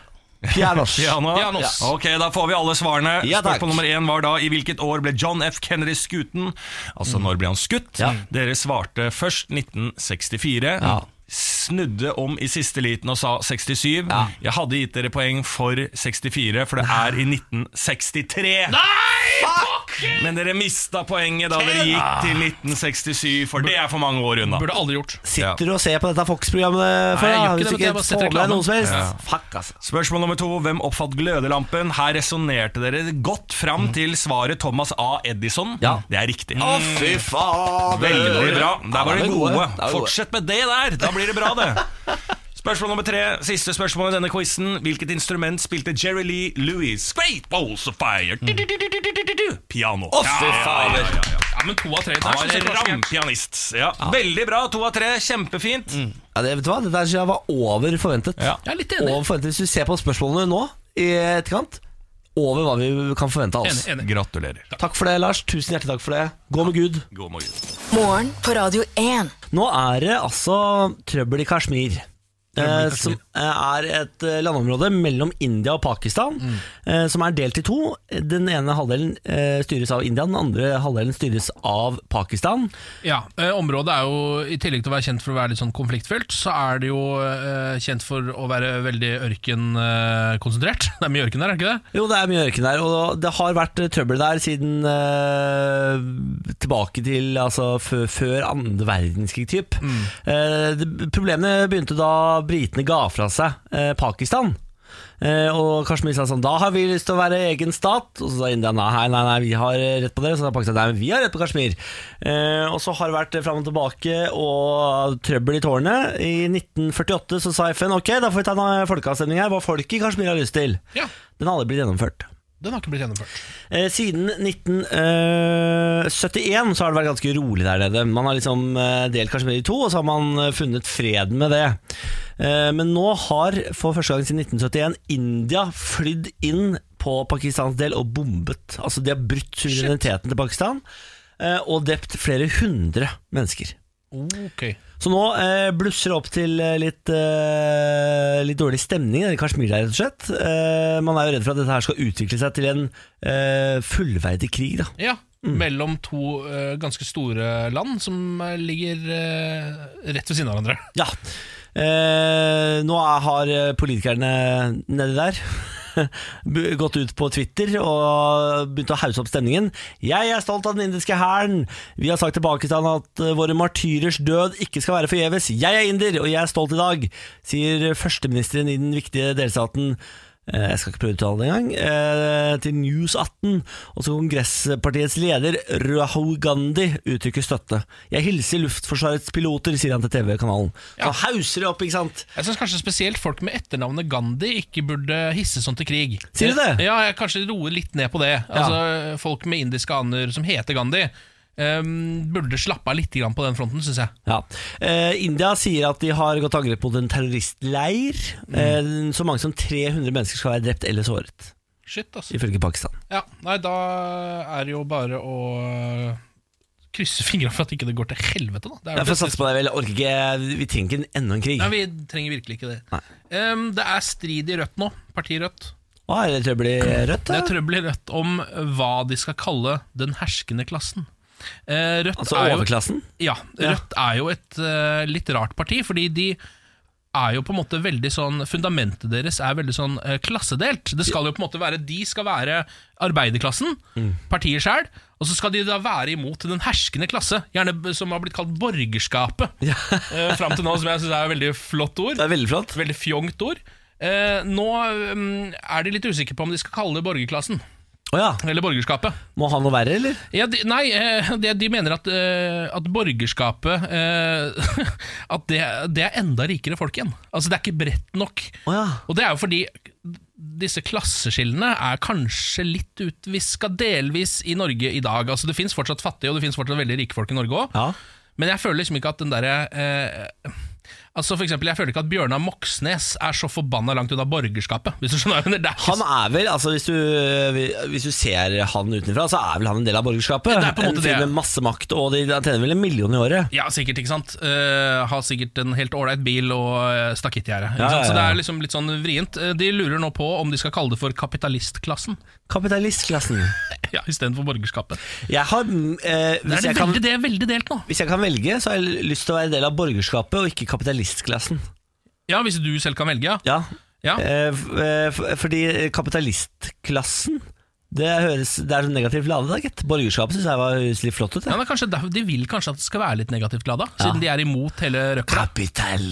Speaker 1: Pianos.
Speaker 5: Piano.
Speaker 2: Pianos.
Speaker 5: Ja. Ok, da får vi alle svarene.
Speaker 1: Ja, takk.
Speaker 5: Spørsmål nummer én var da i hvilket år ble John F. Kennedy skuten? Altså når ble han skutt?
Speaker 1: Ja.
Speaker 5: Dere svarte først 1964.
Speaker 1: Ja.
Speaker 5: Snudde om i siste liten og sa 67. Jeg hadde gitt dere poeng for 64, for det er i 1963. Men dere mista poenget da dere gikk til 1967, for det er for mange år unna.
Speaker 2: Burde aldri gjort.
Speaker 1: Sitter du og ser på dette Fox-programmet? for
Speaker 2: Nei, jeg
Speaker 1: da,
Speaker 2: gjør ikke
Speaker 1: hvis du
Speaker 2: det, vet du, jeg
Speaker 1: ikke
Speaker 2: bare
Speaker 1: får
Speaker 2: setter
Speaker 1: med deg
Speaker 2: reklamen.
Speaker 1: noe som helst? Fuck, altså.
Speaker 5: Spørsmål nummer to. Hvem oppfatt glødelampen? Her resonnerte dere godt fram til svaret Thomas A. Edison.
Speaker 1: Ja.
Speaker 5: Det er riktig.
Speaker 1: Å, fy fader!
Speaker 5: Veldig Eh, bra. Der var
Speaker 1: Ja,
Speaker 5: de
Speaker 1: det er
Speaker 5: gode.
Speaker 1: Det er gode.
Speaker 5: Fortsett med det der. Da blir det bra, det. Spørsmål nummer tre. Siste spørsmål i denne quizen. Hvilket instrument spilte Jerry Lee Lewis? Great Balls of Fire. Du-du-du-du-du-du-du. Piano.
Speaker 1: Å, fy fader!
Speaker 2: Ja, Men to av tre der.
Speaker 5: Han
Speaker 2: så ser det
Speaker 5: var
Speaker 2: ganske gærent.
Speaker 5: rampianist. Ja. Veldig bra. To av tre. Kjempefint.
Speaker 1: Ja, det, vet du hva? Det der synes jeg var over forventet.
Speaker 5: Ja.
Speaker 2: Jeg er litt enig.
Speaker 1: Over forventet. Hvis du ser på spørsmålene nå i etterkant, over hva vi kan forvente av oss.
Speaker 2: Enig, enig.
Speaker 5: Gratulerer.
Speaker 1: Takk for det, Lars. Tusen hjertelig takk for det. Gå med Gud.
Speaker 5: God morgen.
Speaker 4: Morgen på Radio 1.
Speaker 1: Nå er det altså trøbbel i Kashmir. eh, Som er et eh, landområde mellom India og Pakistan, eh, som er delt i to. Den ene halvdelen eh, styres av India, den andre halvdelen styres av Pakistan.
Speaker 2: Ja, eh, Området er jo, i tillegg til å være kjent for å være litt sånn konfliktfylt, så er det jo eh, kjent for å være veldig ørkenkonsentrert. det er mye ørken der, er det ikke det?
Speaker 1: Jo, det er mye ørken der, og det har vært eh, trøbbel der siden eh, tilbake til altså før, før andre verdenskrig, typ. Eh, det- problemene begynte da britene ga fra seg eh, Pakistan. Eh, og Kashmir sa sånn Da har vi lyst til å være egen stat. Og så sa India nei, nei, nei, vi har eh, rett på dere. Så sa Pakistan nei, men vi har rett på Kashmir. Eh, og så har det vært fram og tilbake og trøbbel i tårnet. I 1948 så sa FN ok, da får vi ta en eh, folkeavstemning her. Hva folket i Kashmir har lyst til.
Speaker 2: Ja,
Speaker 1: Den har aldri blitt gjennomført.
Speaker 2: Den har ikke blitt gjennomført.
Speaker 1: Eh, siden 1971 så har det vært ganske rolig der nede. Man har liksom eh, delt Kashmir i to, og så har man eh, funnet fred med det. Eh, men nå har for første gang siden 1971 India flydd inn på Pakistans del og bombet. Altså de har brutt suvereniteten til Pakistan eh, og drept flere hundre mennesker.
Speaker 2: Ok
Speaker 1: Så nå eh, blusser det opp til eh, litt, eh, litt dårlig stemning i Kashmir, der, rett og slett. Eh, man er jo redd for at dette her skal utvikle seg til en eh, fullverdig krig, da.
Speaker 2: Ja, mellom to eh, ganske store land som eh, ligger eh, rett ved siden av hverandre.
Speaker 1: Ja. Eh, nå er, har eh, politikerne nedi der bu- gått ut på Twitter og begynt å hause opp stemningen. Jeg er stolt av den indiske hæren. Vi har sagt til Pakistan at eh, våre martyrers død ikke skal være forgjeves. Jeg er inder, og jeg er stolt i dag, sier førsteministeren i den viktige delstaten. eh, Jeg skal ikke prøve å uttale det engang. eh, Til News 18. Også kongresspartiets leder, Rahul Gandhi, uttrykker støtte. Jeg hilser Luftforsvarets piloter, sier han til TV-kanalen. Så hauser det opp, ikke sant?
Speaker 2: Jeg syns kanskje spesielt folk med etternavnet Gandhi ikke burde hisse sånn til krig.
Speaker 1: Sier du det?
Speaker 2: Ja, jeg kanskje roer litt ned på det. Altså, Folk med indiske aner som heter Gandhi, eh, burde slappe av litt grann på den fronten, syns jeg.
Speaker 1: Ja. Eh, India sier at de har gått til angrep mot en terroristleir.
Speaker 2: Mm.
Speaker 1: Eh, så mange som 300 mennesker skal være drept eller såret,
Speaker 2: Shit, altså.
Speaker 1: ifølge Pakistan.
Speaker 2: Ja, nei, da er det jo bare å øh, krysse fingra for at ikke det går til helvete, da. Det er jo
Speaker 1: Jeg får
Speaker 2: det-
Speaker 1: satse på deg vel. Jeg Orker ikke Vi trenger ikke enda en krig.
Speaker 2: Nei, vi trenger virkelig ikke det. Em, det er strid i Rødt nå, partiet Rødt.
Speaker 1: Å, er det trøbbel i Rødt?
Speaker 2: Det er
Speaker 1: Da?
Speaker 2: trøbbel i Rødt om hva de skal kalle den herskende klassen. Eh, Rødt
Speaker 1: Altså
Speaker 2: er jo-
Speaker 1: overklassen?
Speaker 2: Ja. Rødt er jo et eh, litt rart parti, fordi de er jo på en måte veldig sånn Fundamentet deres er veldig sånn eh, klassedelt. Det skal jo på en måte være De skal være arbeiderklassen,
Speaker 1: Mm.
Speaker 2: partiet sjøl, og så skal de da være imot den herskende klasse, gjerne b- som har blitt kalt borgerskapet. eh, fram til nå, som jeg syns er et veldig flott ord.
Speaker 1: Det er Veldig flott
Speaker 2: Veldig fjongt ord. Eh, nå mm, er de litt usikre på om de skal kalle det borgerklassen.
Speaker 1: Å ja.
Speaker 2: Eller borgerskapet.
Speaker 1: Må ha noe verre, eller?
Speaker 2: Ja, de, nei, eh, de, de mener at, eh, at borgerskapet eh, At det, det er enda rikere folk igjen. Altså Det er ikke bredt nok. Og det er jo fordi disse klasseskillene er kanskje litt utviska delvis i Norge i dag. Altså Det fins fortsatt fattige og det finnes fortsatt veldig rike folk i Norge òg. Men jeg føler liksom ikke at den derre eh, Altså for eksempel, Jeg føler ikke at Bjørnar Moxnes er så forbanna langt unna borgerskapet. Hvis du skjønner hva jeg mener. Det er ikke
Speaker 1: Han er vel, altså hvis du, hvis du ser han utenfra, så er vel han en del av borgerskapet.
Speaker 2: det er på en måte
Speaker 1: fyr
Speaker 2: det.
Speaker 1: med masse makt, og de han tjener vel en million i året.
Speaker 2: Ja, sikkert, ikke sant Eh, Har sikkert en helt ålreit bil og eh, stakittgjerde ikke
Speaker 1: Ja,
Speaker 2: sant?
Speaker 1: ja,
Speaker 2: Så det
Speaker 1: ja.
Speaker 2: er liksom litt sånn vrient Eh, De lurer nå på om de skal kalle det for kapitalistklassen
Speaker 1: Kapitalistklassen.
Speaker 2: Ja, i stedet for borgerskapet
Speaker 1: Jeg har, mm, eh,
Speaker 2: Det
Speaker 1: hvis,
Speaker 2: er det
Speaker 1: jeg kan,
Speaker 2: veldig, det er veldig delt nå
Speaker 1: hvis jeg kan velge, så har jeg lyst til å være del av borgerskapet, og ikke kapitalistklassen.
Speaker 2: Ja, hvis du selv kan velge, ja
Speaker 1: Ja.
Speaker 2: Ja.
Speaker 1: Eh, f- eh, f- fordi kapitalistklassen det, høres, det er så negativt ladet, da, gitt. Borgerskapet syns jeg var høres litt flott ut.
Speaker 2: ja,
Speaker 1: jeg.
Speaker 2: men kanskje, derfor- De vil kanskje at det skal være litt negativt glada Siden de er imot hele røkla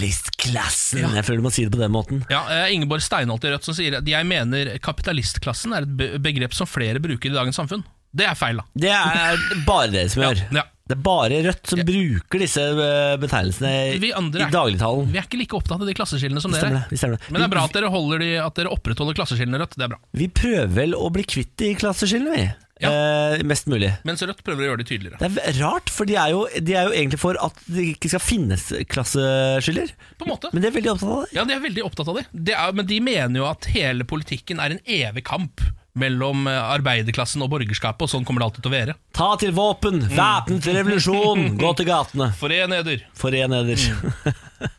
Speaker 1: Kapitalistklassen! Jeg føler du må si det på den måten.
Speaker 2: ja, eh, Ingeborg Steinholt i Rødt som sier at Jeg mener kapitalistklassen er et be- begrep som flere bruker i dagens samfunn Det er feil da
Speaker 1: Det er bare dere som gjør.
Speaker 2: ja.
Speaker 1: Det er bare Rødt som bruker disse eh, betegnelsene
Speaker 2: Vi andre
Speaker 1: i
Speaker 2: er-
Speaker 1: dagligtalen.
Speaker 2: Vi er ikke like opptatt av de klasseskillene som dere
Speaker 1: Stemmer
Speaker 2: er.
Speaker 1: det, vi stemmer det.
Speaker 2: Men det er bra at dere, holder de, at dere opprettholder klasseskillene rødt. Det er bra.
Speaker 1: Vi prøver vel å bli kvitt de klasseskillene, vi. Eh, mest mulig.
Speaker 2: Mens rødt prøver å gjøre de tydeligere.
Speaker 1: Det er v- rart, for de er, jo, de er jo egentlig for at det ikke skal finnes klasseskiller.
Speaker 2: På en måte.
Speaker 1: Men de er veldig opptatt av det.
Speaker 2: Ja, de er veldig opptatt av det. det er, men de mener jo at hele politikken er en evig kamp mellom eh, arbeiderklassen og borgerskapet, og sånn kommer det alltid til å være.
Speaker 1: Ta til
Speaker 2: Mm.
Speaker 1: våpen! Væpnet revolusjon! Gå til gatene!
Speaker 2: Foren eder.
Speaker 1: Foren eder.
Speaker 2: Mm.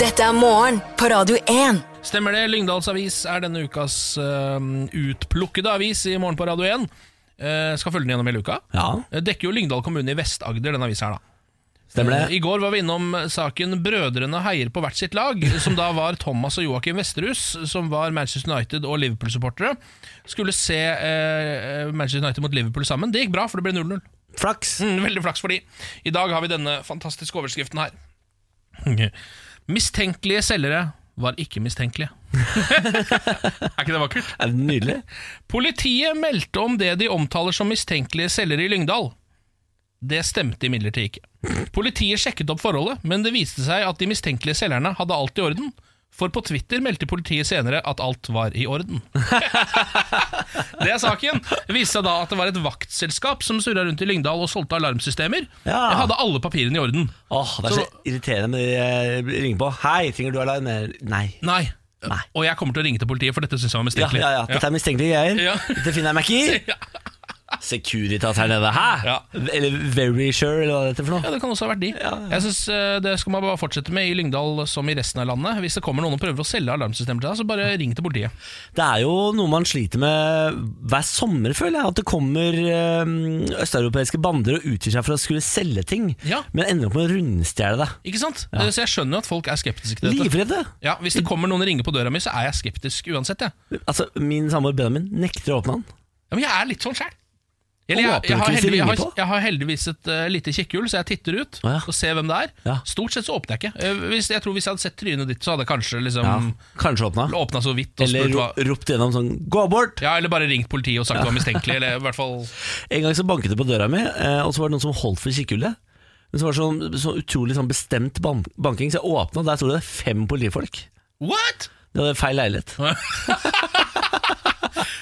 Speaker 4: Dette er morgen på Radio 1.
Speaker 2: Stemmer det. Lyngdals Avis er denne ukas eh, utplukkede avis i morgen på Radio 1. Eh, skal følge den gjennom hele uka.
Speaker 1: Ja,
Speaker 2: Eh, Dekker jo Lyngdal kommune i Vest-Agder, denne avisa her, da.
Speaker 1: stemmer
Speaker 2: Eh,
Speaker 1: det.
Speaker 2: I går var vi innom saken 'Brødrene heier på hvert sitt lag', som da var Thomas og Joakim Vesterhus, som var Manchester United og Liverpool-supportere. Skulle se eh, Manchester United mot Liverpool sammen. Det gikk bra, for det ble 0-0.
Speaker 1: Flaks.
Speaker 2: Mm, veldig flaks for de. I dag har vi denne fantastiske overskriften her. Mistenkelige selgere var ikke mistenkelige. er ikke det vakkert?
Speaker 1: Er det nydelig?
Speaker 2: Mm. Politiet meldte om det de omtaler som mistenkelige selgere i Lyngdal. Det stemte imidlertid ikke. Politiet sjekket opp forholdet, men det viste seg at de mistenkelige selgerne hadde alt i orden. For på Twitter meldte politiet senere at alt var i orden. det er saken. Det viste seg da at det var et vaktselskap som surra rundt i Lyngdal og solgte alarmsystemer.
Speaker 1: Ja.
Speaker 2: Jeg hadde alle papirene i orden.
Speaker 1: Åh, Det er så, irriterende med de eh, ringer på. 'Hei, trenger du alarm?' Nei.
Speaker 2: Nei.
Speaker 1: Nei.
Speaker 2: Og jeg kommer til å ringe til politiet, for dette syns jeg var
Speaker 1: Ja,
Speaker 2: mistenkelig.
Speaker 1: ja, ja. Dette er mistenkelige greier.
Speaker 2: Ja.
Speaker 1: Dette finner jeg meg ikke i. Securitas her nede. Hæ?
Speaker 2: Ja.
Speaker 1: Eller Very Sure, eller hva det heter for
Speaker 2: Ja,
Speaker 1: noe.
Speaker 2: det kan også ha vært de. Jeg synes eh, Det skal man bare fortsette med i Lyngdal som i resten av landet. Hvis det kommer noen og prøver å selge alarmsystemer til deg, så bare ring til politiet.
Speaker 1: Det er jo noe man sliter med hver sommer, føler jeg. At det kommer eh, østeuropeiske bander og utgir seg for å skulle selge ting,
Speaker 2: Ja.
Speaker 1: men ender opp med å rundstjele det.
Speaker 2: Ikke sant? Eh, Så jeg skjønner jo at folk er skeptiske til dette.
Speaker 1: Livredde!
Speaker 2: Ja, Hvis det kommer noen og ringer på døra mi, så er jeg skeptisk uansett. Jeg.
Speaker 1: Altså, min samboer Benjamin nekter å åpne den.
Speaker 2: Ja, men jeg er litt sånn sjæl. Eller jeg,
Speaker 1: Og
Speaker 2: jeg, har
Speaker 1: åpner ikke hvis de
Speaker 2: heldigvis, jeg,
Speaker 1: ringer
Speaker 2: har,
Speaker 1: på?
Speaker 2: jeg har heldigvis et eh, lite kikkhjul, så jeg titter ut
Speaker 1: Å, ja.
Speaker 2: og ser hvem det er.
Speaker 1: Ja.
Speaker 2: Stort sett så åpner jeg ikke. Eh, Hvis, jeg tror hvis jeg hadde sett trynet ditt, så hadde jeg kanskje
Speaker 1: Ja.
Speaker 2: liksom
Speaker 1: Kanskje åpna.
Speaker 2: åpna så vidt og
Speaker 1: Eller
Speaker 2: spurt hva
Speaker 1: ro ropt gjennom sånn 'gå bort'!
Speaker 2: ja, Eller bare ringt politiet og sagt det var mistenkelig. Eller i hvert fall
Speaker 1: En gang så banket det på døra mi, eh, og så var det noen som holdt for kikkhullet. Men så var det sånn, så utrolig sånn bestemt ban banking, så jeg åpna, og der sto det fem politifolk.
Speaker 2: What?!
Speaker 1: De hadde feil leilighet.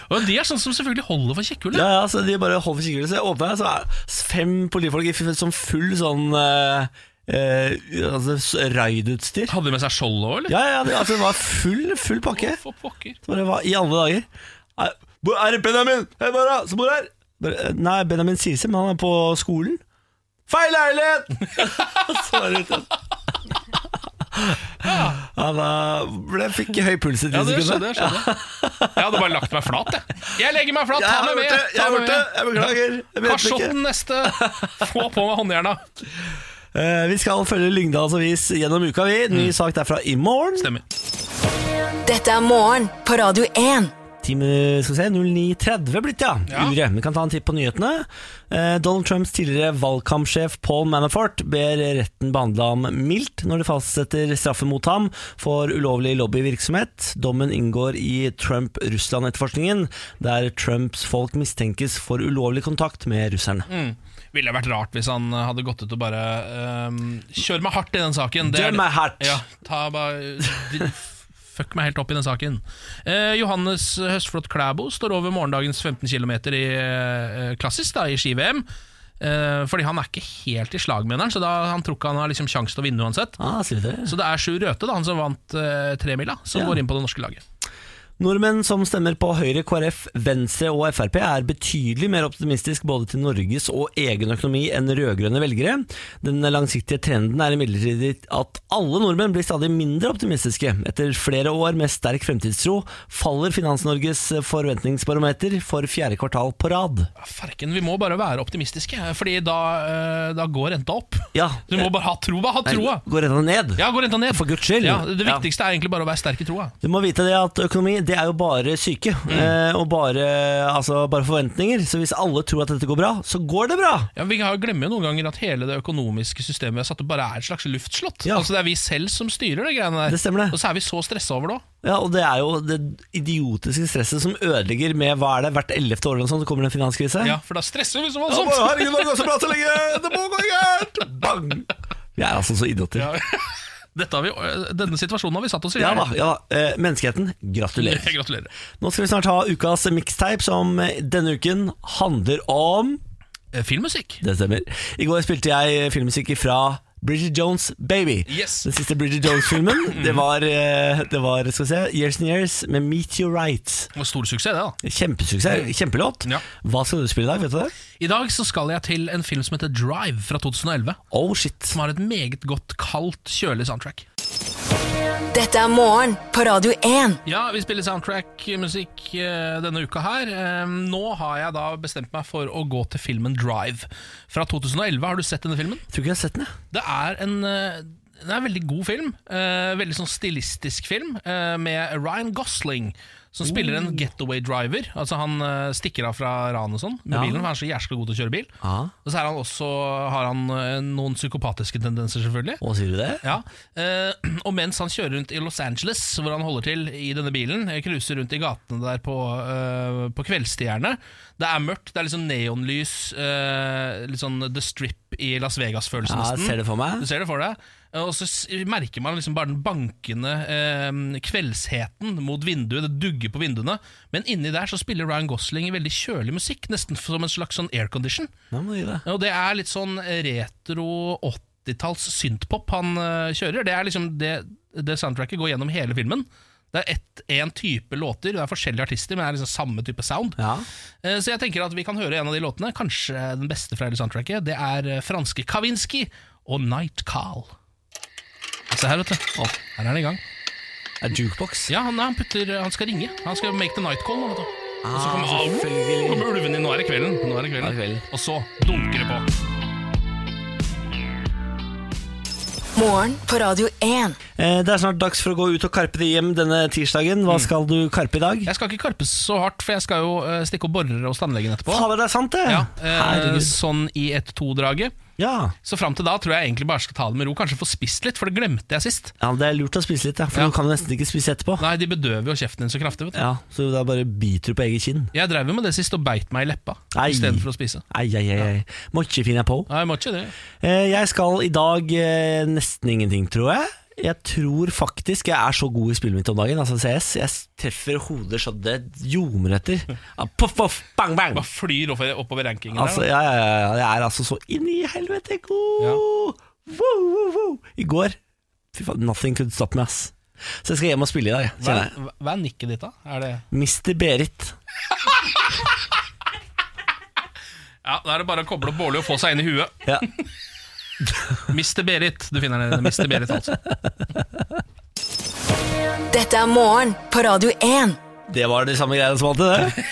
Speaker 2: Og De er sånne som selvfølgelig holder for kjekkhullet.
Speaker 1: Ja, ja, så de bare holdt for kikkhullet, så jeg åpna, så er det fem politifolk i f- sånn full sånn eh, eh, altså, s- raidutstyr.
Speaker 2: Hadde de med seg skjold òg, eller?
Speaker 1: Ja, ja, det, altså, det var full, full pakke.
Speaker 2: For pokker.
Speaker 1: Så bare, hva i alle dager? Er- Hvor er det Benjamin? Hei, Mara, som bor her? Bare, eh, nei, Benjamin sier seg, men han er på skolen. Feil leilighet! Så var det ute. Ja, da ble, fikk jeg høy puls i ti
Speaker 2: Ja, det
Speaker 1: sekunder.
Speaker 2: skjønner jeg. skjønner Jeg Jeg hadde bare lagt meg flat, jeg. Jeg legger meg flat, ta
Speaker 1: Jeg er
Speaker 2: meg med!
Speaker 1: borte, jeg
Speaker 2: ta
Speaker 1: er
Speaker 2: meg
Speaker 1: borte, jeg beklager, jeg vet
Speaker 2: Karsotten neste. Få på meg håndjerna.
Speaker 1: Eh, Vi skal følge Lyngdals avis gjennom uka, vi.
Speaker 2: Mm.
Speaker 1: Ny sak derfra i morgen.
Speaker 2: Stemmer.
Speaker 4: Dette er morgen på Radio 1.
Speaker 1: Time skal vi se, 09.30 blitt, ja.
Speaker 2: Ja.
Speaker 1: Uret. Vi kan ta en titt på nyhetene. Eh, Donald Trumps tidligere valgkampsjef Paul Manafort ber retten behandle ham mildt når de fastsetter straffen mot ham for ulovlig lobbyvirksomhet. Dommen inngår i Trump-Russland-etterforskningen, der Trumps folk mistenkes for ulovlig kontakt med russerne.
Speaker 2: Mm. Ville vært rart hvis han hadde gått ut og bare ehm, Kjør meg hardt i den saken. Det er-
Speaker 1: Døm meg hardt!
Speaker 2: Ja, ta bare d- Fuck meg helt opp i den saken. Eh, Johannes Høstflot Klæbo står over morgendagens 15 km i eh, klassisk da, i ski-VM. Eh, fordi han er ikke helt i slag, mener han, så da, han tror ikke han har liksom sjanse til å vinne uansett.
Speaker 1: Ah, sier du det?
Speaker 2: Så det er Sjur Røthe, da, han som vant eh, tremila, som
Speaker 1: Ja.
Speaker 2: går inn på det norske laget.
Speaker 1: Nordmenn som stemmer på Høyre, KrF, Venstre og Frp er betydelig mer optimistisk både til Norges og egen økonomi enn rød-grønne velgere. Den langsiktige trenden er imidlertid at alle nordmenn blir stadig mindre optimistiske. Etter flere år med sterk fremtidstro faller Finans-Norges forventningsbarometer for fjerde kvartal på rad.
Speaker 2: Ja, Farken, Ah, vi må bare være optimistiske, Fordi da, eh, da går renta opp.
Speaker 1: Ja,
Speaker 2: Du må bare ha troa!
Speaker 1: Eh,
Speaker 2: Ha
Speaker 1: Nei,
Speaker 2: troa!
Speaker 1: Går rett og slett ned.
Speaker 2: Ja, gå renta ned.
Speaker 1: For guds skyld.
Speaker 2: Ja, det
Speaker 1: Ja.
Speaker 2: viktigste er egentlig bare å være sterk i troa.
Speaker 1: Du må vite det at økonomi det er jo bare syke,
Speaker 2: Mm.
Speaker 1: eh, og bare, altså, bare forventninger. Så hvis alle tror at dette går bra, så går det bra!
Speaker 2: Ja, vi har- glemmer jo noen ganger at hele det økonomiske systemet vi har satt opp, bare er et slags luftslott.
Speaker 1: Ja.
Speaker 2: Altså Det er vi selv som styrer det greiene der.
Speaker 1: Det stemmer det.
Speaker 2: Og så er vi så stressa over det òg.
Speaker 1: Ja, og det er jo det idiotiske stresset som ødelegger med hva er det, hvert ellevte år eller noe sånt, så kommer det en finanskrise.
Speaker 2: Ja, for da stresser vi sånn. så
Speaker 1: Ja,
Speaker 2: voldsomt!
Speaker 1: bare, herregud, det har gått så bra så lenge! Det må gå gærent! Bang! Vi er altså så idioter. Ja,
Speaker 2: Dette har vi, denne situasjonen har vi satt oss i.
Speaker 1: da. ja da. Eh, menneskeheten, gratulerer.
Speaker 2: Gratulerer.
Speaker 1: Nå skal vi snart ha ukas mixtape, som denne uken handler om
Speaker 2: Eh, Filmmusikk.
Speaker 1: Det stemmer. I går spilte jeg filmmusikk fra Bridget Jones' Baby.
Speaker 2: Yes.
Speaker 1: Den siste Bridget Jones-filmen. Det var, eh, det var skal vi se, Years and Years med Meteorite.
Speaker 2: Og Stor suksess, det, da.
Speaker 1: Kjempesuksess, kjempelåt.
Speaker 2: Mm. Ja.
Speaker 1: Hva skal du spille i dag? vet du det?
Speaker 2: I dag så skal jeg til en film som heter Drive fra 2011.
Speaker 1: Oh shit.
Speaker 2: Som har et meget godt, kaldt, kjølig soundtrack.
Speaker 4: Dette er morgen på Radio 1.
Speaker 2: Ja, vi spiller soundtrack-musikk eh, denne uka her. Eh, Nå har jeg da bestemt meg for å gå til filmen Drive. Fra 2011, har du sett denne filmen?
Speaker 1: Tror ikke jeg har sett den, jeg.
Speaker 2: Det er en eh, det er en veldig god film. eh, veldig sånn stilistisk film, eh, med Ryan Gosling. Som spiller en getaway driver. Altså Han eh, stikker av fra ran og sånn med
Speaker 1: Ja.
Speaker 2: bilen. For han er så jæskla god til å kjøre bil.
Speaker 1: Ja.
Speaker 2: Og så er han også, har han eh, noen psykopatiske tendenser, selvfølgelig.
Speaker 1: Å, sier du det?
Speaker 2: Ja, eh, Og mens han kjører rundt i Los Angeles, hvor han holder til i denne bilen, eh, cruiser rundt i gatene der på, eh, på kveldstiderne Det er mørkt, det er litt sånn neonlys, eh, litt sånn The Strip i Las Vegas-følelse
Speaker 1: Ja, jeg
Speaker 2: nesten.
Speaker 1: ser det for meg.
Speaker 2: Du ser det for deg. Eh, Og så s- merker man liksom bare den bankende eh, kveldsheten mot vinduet. Det dugger på vinduene. Men inni der så spiller Ryan Gosling veldig kjølig musikk, nesten som en slags sånn aircondition.
Speaker 1: Nå må du gi det.
Speaker 2: Og det er litt sånn retro 80-talls synthpop han eh, kjører. Det er liksom det, det soundtracket går gjennom hele filmen. Det er én type låter, det er forskjellige artister, men det er liksom samme type sound.
Speaker 1: Ja.
Speaker 2: Eh, Så jeg tenker at vi kan høre en av de låtene, kanskje den beste fra hele soundtracket. Det er eh, franske Kavinsky og Night Carl. Se her, vet du. Å, her er den i gang.
Speaker 1: Er jukebox?
Speaker 2: Ja, han, han, putter, han skal ringe. Han skal make the night call nå, vet du. Og så
Speaker 1: Ah,
Speaker 2: kommer, au,
Speaker 1: selvfølgelig.
Speaker 2: kommer ulven inn. Nå er det kvelden. Nå
Speaker 1: Nå er
Speaker 2: er det
Speaker 1: det
Speaker 2: kvelden.
Speaker 1: kvelden.
Speaker 2: Og så dunker det på.
Speaker 4: Morgen på Radio 1.
Speaker 1: Eh, Det er snart dags for å gå ut og karpe det hjem denne tirsdagen.
Speaker 2: Mm.
Speaker 1: Hva skal du karpe i dag?
Speaker 2: Jeg skal ikke karpe så hardt, for jeg skal jo eh, stikke opp borere hos tannlegen etterpå.
Speaker 1: Fader, det er sant, det!
Speaker 2: Ja, eh,
Speaker 1: Herregud.
Speaker 2: sånn i 1-2-draget.
Speaker 1: Ja.
Speaker 2: Så fram til da tror jeg egentlig bare skal ta det med ro. Kanskje få spist litt, for det glemte jeg sist.
Speaker 1: ja, det er lurt å spise litt, ja, for
Speaker 2: Ja.
Speaker 1: du kan jo nesten ikke spise etterpå.
Speaker 2: Nei, de bedøver jo kjeften din så kraftig. vet du
Speaker 1: Ja, Så da bare biter du på eget kinn.
Speaker 2: Jeg drev jo med det sist og beit meg i leppa
Speaker 1: Ei.
Speaker 2: istedenfor å spise.
Speaker 1: Ai, ai, ai, ai. Må ikke finne på.
Speaker 2: Nei, jeg må ikke det.
Speaker 1: Eh, Jeg skal i dag eh, nesten ingenting, tror jeg. Jeg tror faktisk jeg er så god i spillet mitt om dagen, altså CS. Jeg treffer hoder så det ljomer etter. Ah, Poff, poff, bang, bang!
Speaker 2: Bare flyr oppover, oppover rankingen.
Speaker 1: Altså,
Speaker 2: der,
Speaker 1: ja, ja, ja, ja, jeg er altså så inn i helvete god!
Speaker 2: Ja.
Speaker 1: Wow, wow, wow. I går Fy faen, nothing could stop me, ass. Så jeg skal hjem og spille i dag,
Speaker 2: da.
Speaker 1: kjenner jeg.
Speaker 2: hva, hva er nikket ditt, da? Er det
Speaker 1: Mr. Berit.
Speaker 2: Ja, Da er det bare å koble opp Bårli og få seg inn i huet.
Speaker 1: Ja.
Speaker 2: Mr. Berit. Du finner den Mr. Berit, altså.
Speaker 4: Dette er morgen på Radio 1.
Speaker 1: Det var de samme greiene som alltid, det.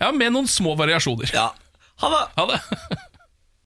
Speaker 2: Ja, med noen små variasjoner.
Speaker 1: Ja. Ha det!
Speaker 2: Ha det.